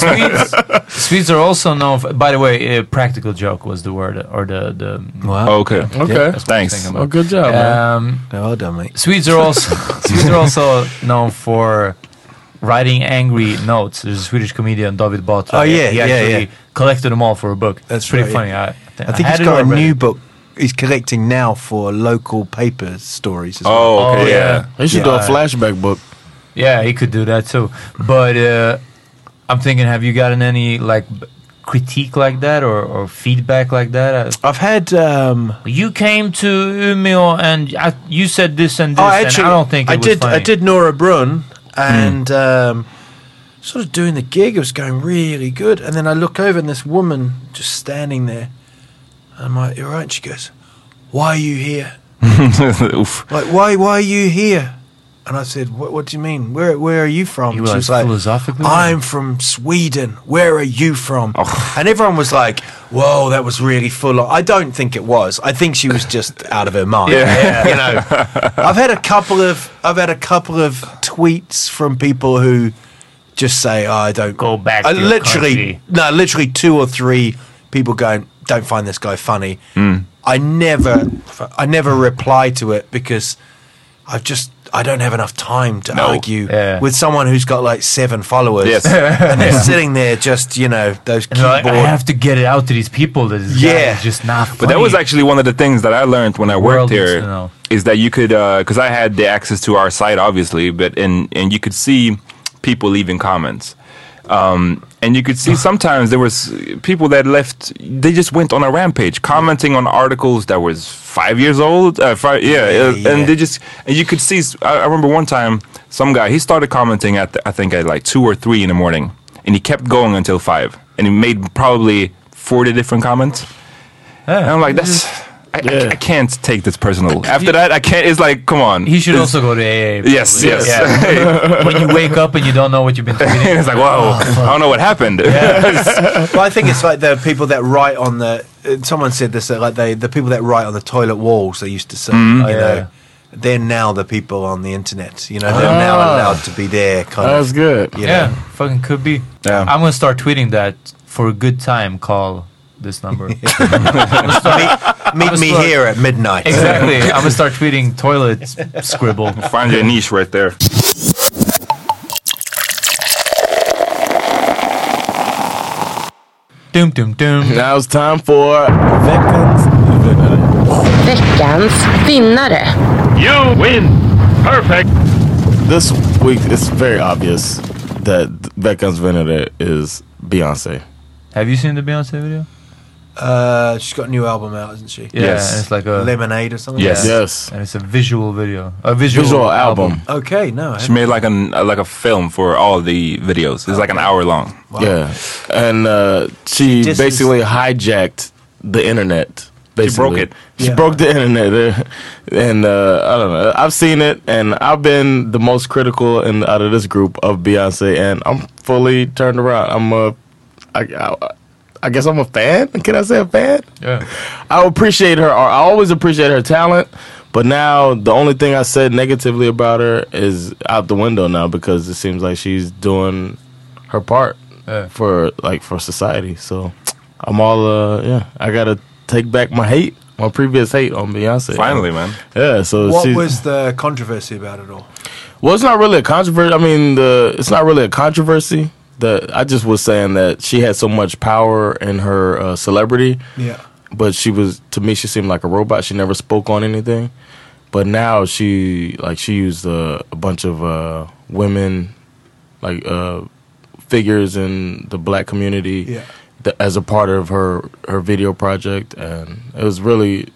[SPEAKER 4] Swedes, Swedes are also known. For, by the way, uh, practical joke was the word or the the.
[SPEAKER 3] Uh-huh.
[SPEAKER 1] Okay.
[SPEAKER 4] Okay. That's what I was
[SPEAKER 1] Thanks.
[SPEAKER 4] thinking about.
[SPEAKER 2] Oh, good job, man.
[SPEAKER 4] Um,
[SPEAKER 3] Well done, mate.
[SPEAKER 4] Swedes are
[SPEAKER 3] *laughs*
[SPEAKER 4] also Swedes are also known for writing angry notes. There's a Swedish comedian David Batra.
[SPEAKER 3] Oh, yeah,
[SPEAKER 4] he
[SPEAKER 3] yeah,
[SPEAKER 4] actually
[SPEAKER 3] yeah.
[SPEAKER 4] collected them all for a book.
[SPEAKER 3] That's
[SPEAKER 4] pretty
[SPEAKER 3] right,
[SPEAKER 4] funny. I,
[SPEAKER 3] I think
[SPEAKER 4] I
[SPEAKER 3] he's
[SPEAKER 4] had it
[SPEAKER 3] got a
[SPEAKER 4] already.
[SPEAKER 3] new book he's collecting now for local paper stories. As well.
[SPEAKER 1] Oh, okay.
[SPEAKER 4] Oh,
[SPEAKER 1] yeah.
[SPEAKER 4] yeah.
[SPEAKER 2] They should
[SPEAKER 4] Yeah.
[SPEAKER 2] do a flashback book.
[SPEAKER 4] Yeah, he could do that too. But uh, I'm thinking, have you gotten any like b- critique like that or, or feedback like that?
[SPEAKER 3] I've had. Um,
[SPEAKER 4] Uh, you came to Umeå and I, you said this and this,
[SPEAKER 3] oh,
[SPEAKER 4] and
[SPEAKER 3] actually,
[SPEAKER 4] I don't think it
[SPEAKER 3] I
[SPEAKER 4] was
[SPEAKER 3] did.
[SPEAKER 4] funny. Hmm.
[SPEAKER 3] I did Nora Brun and. Um, Sort of doing the gig, it was going really good, and then I look over and this woman just standing there. I'm like, "You're right." She goes, "Why are you here?"
[SPEAKER 1] *laughs* Oof.
[SPEAKER 3] Like, why, why are you here? And I said, what, what do you mean? Where, where are you from?
[SPEAKER 4] You
[SPEAKER 3] she
[SPEAKER 4] were
[SPEAKER 3] was
[SPEAKER 4] like,
[SPEAKER 3] like,
[SPEAKER 4] philosophically?
[SPEAKER 3] I'm from Sweden. Where are you from?
[SPEAKER 4] Oh.
[SPEAKER 3] And everyone was like, whoa, that was really full on. I don't think it was. I think she was just out of her mind. You
[SPEAKER 4] *laughs*
[SPEAKER 3] know, I've had a couple of, I've had a couple of tweets from people who just say, oh, I don't
[SPEAKER 4] Go back
[SPEAKER 3] I
[SPEAKER 4] to your
[SPEAKER 3] literally,
[SPEAKER 4] country.
[SPEAKER 3] no, literally two or three people going, "Don't find this guy funny." I never, I never reply to it because I just I don't have enough time to argue
[SPEAKER 4] Yeah.
[SPEAKER 3] with someone who's got like seven followers
[SPEAKER 1] Yes.
[SPEAKER 3] and they're sitting there just you know those
[SPEAKER 4] And they're
[SPEAKER 3] keyboard.
[SPEAKER 4] like, I have to get it out to these people that this guy
[SPEAKER 3] Yeah.
[SPEAKER 4] is just not funny.
[SPEAKER 1] But that was actually one of the things that I learned when I
[SPEAKER 4] World
[SPEAKER 1] worked
[SPEAKER 4] needs
[SPEAKER 1] here
[SPEAKER 4] to know.
[SPEAKER 1] is that you could because I had the access to our site obviously, but and and you could see people leaving comments. Um, and you could
[SPEAKER 4] *sighs*
[SPEAKER 1] see sometimes there was people that left. They just went on a rampage, commenting on articles that was five years old. Uh, five, yeah, uh,
[SPEAKER 3] Yeah, yeah.
[SPEAKER 1] and they just and you could see. s- I, I remember one time some guy he started commenting at the, I think at like two or three in the morning, and he kept going until five, and he made probably forty different comments. And I'm like, that's. I, I- I, can't take this personal. After that, I can't. It's like, come on.
[SPEAKER 4] He should
[SPEAKER 1] It's-
[SPEAKER 4] also go to AA.
[SPEAKER 1] Yes,
[SPEAKER 4] probably.
[SPEAKER 1] yes.
[SPEAKER 4] Yeah. when you wake up and you don't know what you've been
[SPEAKER 1] and *laughs*
[SPEAKER 4] tweeting. Oh,
[SPEAKER 1] it's like,
[SPEAKER 2] Ah,
[SPEAKER 1] wow, I don't know what happened.
[SPEAKER 3] *laughs* Well, I think it's like the people that write on the. uh, Someone said this that like they the people that write on the toilet walls. They used to say,
[SPEAKER 2] Mm-hmm.
[SPEAKER 3] you know, they're now the people on the internet. You know, they're now
[SPEAKER 2] Ah.
[SPEAKER 3] allowed to be there. Kind
[SPEAKER 2] That's
[SPEAKER 3] of.
[SPEAKER 2] good.
[SPEAKER 3] You know.
[SPEAKER 4] Yeah, fucking could be.
[SPEAKER 1] Yeah.
[SPEAKER 4] I'm gonna start tweeting that for a good time. Call this number. *laughs*
[SPEAKER 3] Meet me
[SPEAKER 4] like-
[SPEAKER 3] here at midnight. *laughs*
[SPEAKER 4] exactly. I'm gonna start tweeting toilet scribble.
[SPEAKER 1] *laughs* Find your niche right there.
[SPEAKER 4] Doom, doom, doom.
[SPEAKER 2] Now it's time for veterans.
[SPEAKER 8] Veckans vinnare.
[SPEAKER 9] You win! Perfect!
[SPEAKER 2] This week, it's very obvious that Becca's Veneta is Beyonce.
[SPEAKER 4] Have you seen the Beyonce video?
[SPEAKER 3] Uh, she's got a new album out, isn't she?
[SPEAKER 4] Yeah,
[SPEAKER 2] Yes.
[SPEAKER 4] and it's like a
[SPEAKER 3] Lemonade or something.
[SPEAKER 1] Yes.
[SPEAKER 4] Yeah.
[SPEAKER 2] Yes.
[SPEAKER 4] and it's a visual video, a visual,
[SPEAKER 2] Visual album.
[SPEAKER 3] Okay, no. I
[SPEAKER 1] She made like an uh, like a film for all the videos. It's like an hour long.
[SPEAKER 2] Yeah. And uh, she
[SPEAKER 3] This is-
[SPEAKER 2] basically hijacked the internet. Basically.
[SPEAKER 1] broke it.
[SPEAKER 2] She
[SPEAKER 3] Yeah.
[SPEAKER 2] broke the internet. *laughs* And uh, I don't know. I've seen it, and I've been the most critical in, out of this group of Beyonce, and I'm fully turned around. I'm a, I, I, I guess I'm a fan. Can I say a fan?
[SPEAKER 4] Yeah.
[SPEAKER 2] I appreciate her. I always appreciate her talent, but now the only thing I said negatively about her is out the window now because it seems like she's doing her part
[SPEAKER 4] Yeah.
[SPEAKER 2] for like for society. So I'm all uh yeah. I gotta take back my hate, my previous hate on Beyonce.
[SPEAKER 1] Finally, man.
[SPEAKER 2] Yeah. So
[SPEAKER 3] What
[SPEAKER 2] she's-
[SPEAKER 3] was the controversy about it all?
[SPEAKER 2] well, it's not really a controversy. I mean, the it's not really a controversy. The I just was saying that she had so much power in her uh, celebrity
[SPEAKER 3] Yeah.
[SPEAKER 2] but she was to me she seemed like a robot she never spoke on anything but now she like she used a, a bunch of uh women like uh figures in the black community
[SPEAKER 3] Yeah.
[SPEAKER 2] th- as a part of her her video project and it was really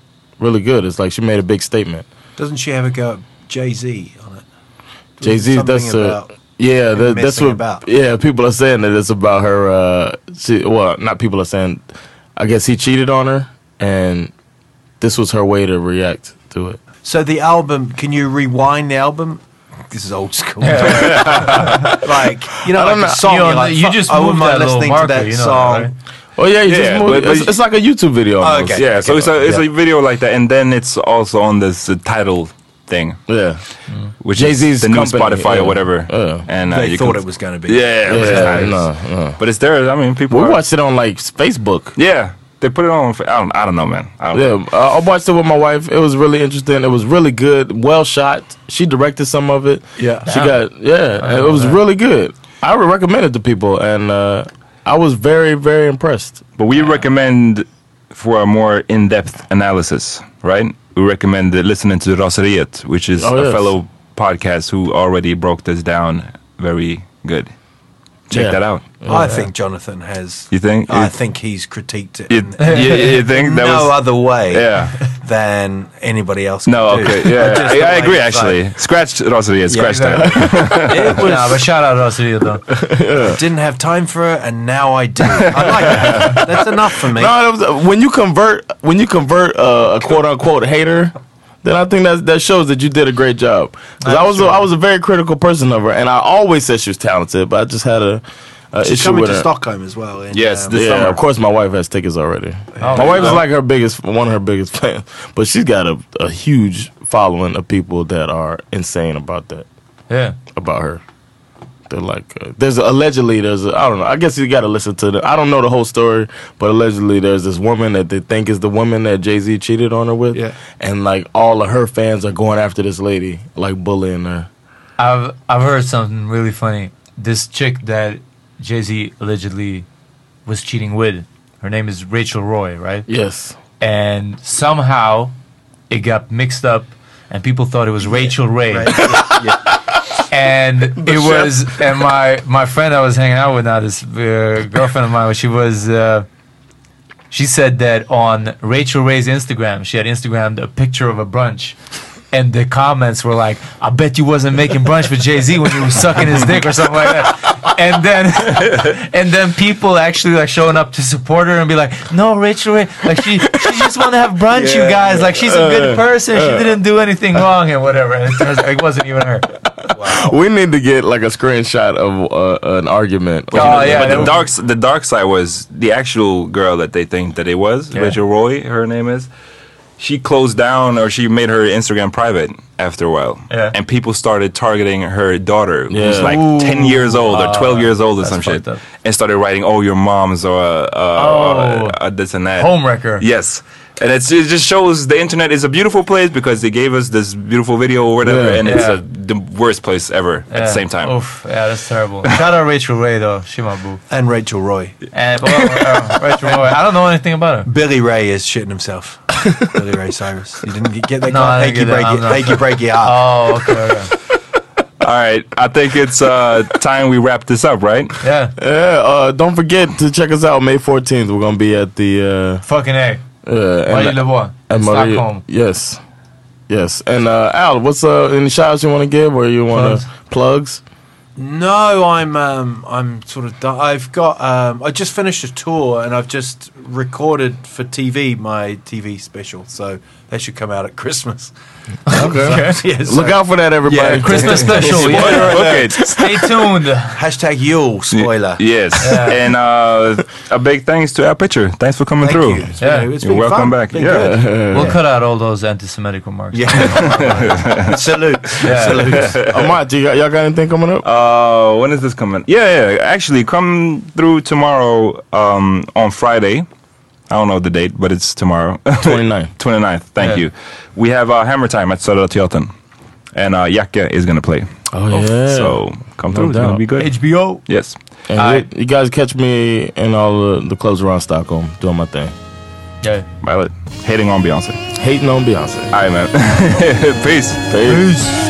[SPEAKER 2] really good it's like she made a big statement
[SPEAKER 3] Doesn't she have a go at Jay Z on it?
[SPEAKER 2] jay-z
[SPEAKER 3] Something
[SPEAKER 2] that's a
[SPEAKER 3] about-
[SPEAKER 2] yeah that, that's
[SPEAKER 3] messing
[SPEAKER 2] what
[SPEAKER 3] about.
[SPEAKER 2] yeah people are saying that it's about her uh she, well not people are saying i guess he cheated on her and this was her way to react to it
[SPEAKER 3] So the album, can you rewind the album? This is old school. like you know,
[SPEAKER 2] I don't
[SPEAKER 3] like a
[SPEAKER 2] know.
[SPEAKER 3] *laughs* song.
[SPEAKER 4] You
[SPEAKER 3] You,
[SPEAKER 4] know, you just
[SPEAKER 3] just I wouldn't
[SPEAKER 4] moved
[SPEAKER 3] mind
[SPEAKER 4] that little
[SPEAKER 3] listening
[SPEAKER 4] marker,
[SPEAKER 3] to that
[SPEAKER 4] you know that,
[SPEAKER 3] song.
[SPEAKER 4] right?
[SPEAKER 2] Oh yeah, you
[SPEAKER 1] Yeah,
[SPEAKER 2] just moved.
[SPEAKER 1] but- but Oh,
[SPEAKER 2] it's,
[SPEAKER 1] you-
[SPEAKER 2] it's like a YouTube video. Almost.
[SPEAKER 3] okay.
[SPEAKER 1] Yeah, so it's a it's a video like that, and then it's also on this uh, title thing,
[SPEAKER 2] Yeah.
[SPEAKER 1] which
[SPEAKER 2] Jay-Z's
[SPEAKER 1] is the new
[SPEAKER 2] company,
[SPEAKER 1] Spotify
[SPEAKER 2] yeah.
[SPEAKER 1] or whatever.
[SPEAKER 2] Yeah.
[SPEAKER 1] And uh,
[SPEAKER 3] They
[SPEAKER 1] you
[SPEAKER 3] thought
[SPEAKER 1] can-
[SPEAKER 3] it was going to be.
[SPEAKER 1] Yeah, it was
[SPEAKER 2] Yeah,
[SPEAKER 1] nice.
[SPEAKER 2] no, no.
[SPEAKER 1] But it's there. I mean, people.
[SPEAKER 2] We
[SPEAKER 1] are-
[SPEAKER 2] watched it on like Facebook.
[SPEAKER 1] Yeah, they put it on. fa- I don't. I don't know, man. I don't
[SPEAKER 2] Yeah, uh, I watched it with my wife. It was really interesting. It was really good, well shot. She directed some of it.
[SPEAKER 3] Yeah.
[SPEAKER 2] she got yeah. It was really good. I would recommend it to people, and uh, I was very very impressed.
[SPEAKER 1] But we recommend for a more in-depth analysis, right? We recommend that listening to Rosariet, which is
[SPEAKER 2] Oh,
[SPEAKER 1] a
[SPEAKER 2] yes.
[SPEAKER 1] fellow podcast who already broke this down very good. Check
[SPEAKER 2] Yeah.
[SPEAKER 1] that out.
[SPEAKER 3] I think Jonathan has.
[SPEAKER 1] You think?
[SPEAKER 3] I
[SPEAKER 1] You-
[SPEAKER 3] think he's critiqued it.
[SPEAKER 1] You,
[SPEAKER 3] in
[SPEAKER 1] you, you think
[SPEAKER 2] *laughs*
[SPEAKER 1] that
[SPEAKER 3] no
[SPEAKER 1] was?
[SPEAKER 3] other way
[SPEAKER 1] Yeah.
[SPEAKER 3] than anybody else.
[SPEAKER 1] No,
[SPEAKER 3] could do.
[SPEAKER 2] *laughs*
[SPEAKER 1] okay, yeah, I,
[SPEAKER 3] Just the
[SPEAKER 1] I
[SPEAKER 3] way
[SPEAKER 1] agree.
[SPEAKER 3] it's like-
[SPEAKER 1] Actually, scratch Rosariet, scratch that.
[SPEAKER 4] nah, but shout out
[SPEAKER 3] *laughs*
[SPEAKER 4] Rosario though.
[SPEAKER 3] didn't have time for it, and now
[SPEAKER 1] *laughs*
[SPEAKER 3] I do. I like that. That's enough for me.
[SPEAKER 2] No, Uh, that was, when you convert when you convert uh, a quote unquote hater, then I think that that shows that you did a great job. 'Cause I was a, I was a very critical person of her, and I always said she was talented, but I just had a, a
[SPEAKER 3] She's
[SPEAKER 2] issue
[SPEAKER 3] coming
[SPEAKER 2] with
[SPEAKER 3] to
[SPEAKER 2] her.
[SPEAKER 3] Stockholm as well. and,
[SPEAKER 1] Yes,
[SPEAKER 3] um,
[SPEAKER 1] this
[SPEAKER 2] yeah,
[SPEAKER 1] summer.
[SPEAKER 2] of course, my wife has tickets already. my wife is like her biggest, one of her biggest *laughs* fans, but she's got a, a huge following of people that are insane about that,
[SPEAKER 4] Yeah.
[SPEAKER 2] about her. They're like, uh, there's allegedly, there's, a, I don't know, I guess you got to listen to the, I don't know the whole story, but allegedly there's this woman that they think is the woman that Jay Z cheated on her with,
[SPEAKER 3] Yeah.
[SPEAKER 2] and like all of her fans are going after this lady, like bullying her.
[SPEAKER 4] I've I've heard something really funny. This chick that Jay Z allegedly was cheating with, her name is Rachel Roy, right?
[SPEAKER 2] Yes.
[SPEAKER 4] And somehow it got mixed up, and people thought it was Rachel Ray. And it was, and my my friend I was hanging out with now, this uh, girlfriend of mine, she was, uh, she said that on Rachel Ray's Instagram, she had Instagrammed a picture of a brunch, and the comments were like, "I bet you wasn't making brunch with Jay Z when you were sucking his dick or something like that." And then, *laughs* and then people actually like showing up to support her and be like, "No, Rachel Ray, like she she just want to have brunch, you guys. Like she's a
[SPEAKER 1] Uh,
[SPEAKER 4] good person. She didn't do anything wrong and whatever." And it, turns, it wasn't even her.
[SPEAKER 2] We need to get like a screenshot of uh, an argument.
[SPEAKER 4] Oh, yeah,
[SPEAKER 1] but
[SPEAKER 4] that
[SPEAKER 1] the
[SPEAKER 4] was-
[SPEAKER 1] dark s- the dark side was the actual girl that they think that it was Rachel Roy. Her name is. She closed down, or she made her Instagram private after a while,
[SPEAKER 4] Yeah.
[SPEAKER 1] and people started targeting her daughter, who's
[SPEAKER 2] Yeah.
[SPEAKER 1] like ten years old or twelve years old or some shit,
[SPEAKER 4] Ah, fucked up.
[SPEAKER 1] and started writing, "Oh, your mom's or uh,
[SPEAKER 4] Oh.
[SPEAKER 1] uh, uh, this and that."
[SPEAKER 4] Homewrecker.
[SPEAKER 1] Yes. And it's, it just shows the internet is a beautiful place because they gave us this beautiful video or whatever,
[SPEAKER 2] Yeah.
[SPEAKER 1] and it's a,
[SPEAKER 4] Yeah.
[SPEAKER 1] the
[SPEAKER 2] *laughs*
[SPEAKER 1] worst place ever at the
[SPEAKER 4] Yeah.
[SPEAKER 1] same time.
[SPEAKER 4] Oof, yeah, that's terrible. Shout out Rachel Ray though, she my boo.
[SPEAKER 3] and Rachel Roy.
[SPEAKER 4] And well, uh, Rachel Ray, I don't know anything about her.
[SPEAKER 3] Billy Ray is shitting
[SPEAKER 4] *laughs*
[SPEAKER 3] himself. Billy Ray Cyrus. You didn't get- get that
[SPEAKER 4] No,
[SPEAKER 3] guy.
[SPEAKER 4] I
[SPEAKER 3] Achy
[SPEAKER 4] didn't get that.
[SPEAKER 3] breaky,
[SPEAKER 4] I'm not-
[SPEAKER 3] achy breaky up.
[SPEAKER 4] Oh, okay, okay.
[SPEAKER 1] *laughs* All right, I think it's uh, time we wrap this up, right?
[SPEAKER 4] yeah,
[SPEAKER 2] Yeah, uh, don't forget to check us out May 14th. We're gonna be at the
[SPEAKER 4] fucking a.
[SPEAKER 2] uh, uh
[SPEAKER 4] Marie
[SPEAKER 2] and-
[SPEAKER 4] Lebois,
[SPEAKER 2] and Maria-
[SPEAKER 1] *laughs*
[SPEAKER 4] Stockholm.
[SPEAKER 2] Yes, yes. And uh, Al, what's uh any shout you want to give or you want to plugs?
[SPEAKER 3] No, I'm um, I'm sort of done. I've got um, I just finished a tour and I've just recorded for TV my TV special, so that should come out at
[SPEAKER 4] *laughs*
[SPEAKER 3] Christmas. Okay. *laughs* yeah, so-
[SPEAKER 2] Look out for that, everybody. *laughs*
[SPEAKER 3] uh, Yeah,
[SPEAKER 4] Christmas special. yeah.
[SPEAKER 1] Okay.
[SPEAKER 4] Stay tuned.
[SPEAKER 3] Hashtag Yule spoiler.
[SPEAKER 1] Yes. And uh, a big thanks to our pitcher. Thanks for coming
[SPEAKER 3] Thank
[SPEAKER 1] through.
[SPEAKER 3] you. It's
[SPEAKER 4] Yeah.
[SPEAKER 3] been, it's
[SPEAKER 1] You're
[SPEAKER 3] been
[SPEAKER 1] welcome
[SPEAKER 3] fun.
[SPEAKER 1] back.
[SPEAKER 3] Been
[SPEAKER 1] Yeah.
[SPEAKER 3] good.
[SPEAKER 4] *laughs* We'll cut out all those anti-Semitic
[SPEAKER 1] *laughs*
[SPEAKER 4] remarks. *laughs*
[SPEAKER 3] Yeah. salute. Salute.
[SPEAKER 2] Amat, you got, y'all got anything coming up?
[SPEAKER 1] Uh, when is this coming? Yeah, yeah. Actually, come through tomorrow um, on Friday. I don't know the date, but it's tomorrow. *laughs*
[SPEAKER 2] 29.
[SPEAKER 1] 29th. Thank
[SPEAKER 4] Yeah.
[SPEAKER 1] you. We have uh, Hammer Time at Södra Teatern. And uh, Jakke is going to play.
[SPEAKER 2] Oh yeah.
[SPEAKER 1] So come through. It's going
[SPEAKER 2] doubt.
[SPEAKER 1] to be good.
[SPEAKER 4] HBO.
[SPEAKER 1] Yes.
[SPEAKER 2] and
[SPEAKER 4] I-
[SPEAKER 2] you, you guys catch me in all the, the clubs around Stockholm doing my thing,
[SPEAKER 4] Yeah.
[SPEAKER 1] Violet. Hating on Beyonce.
[SPEAKER 2] hating on Beyonce.
[SPEAKER 1] All right, man. *laughs* Peace.
[SPEAKER 2] Peace.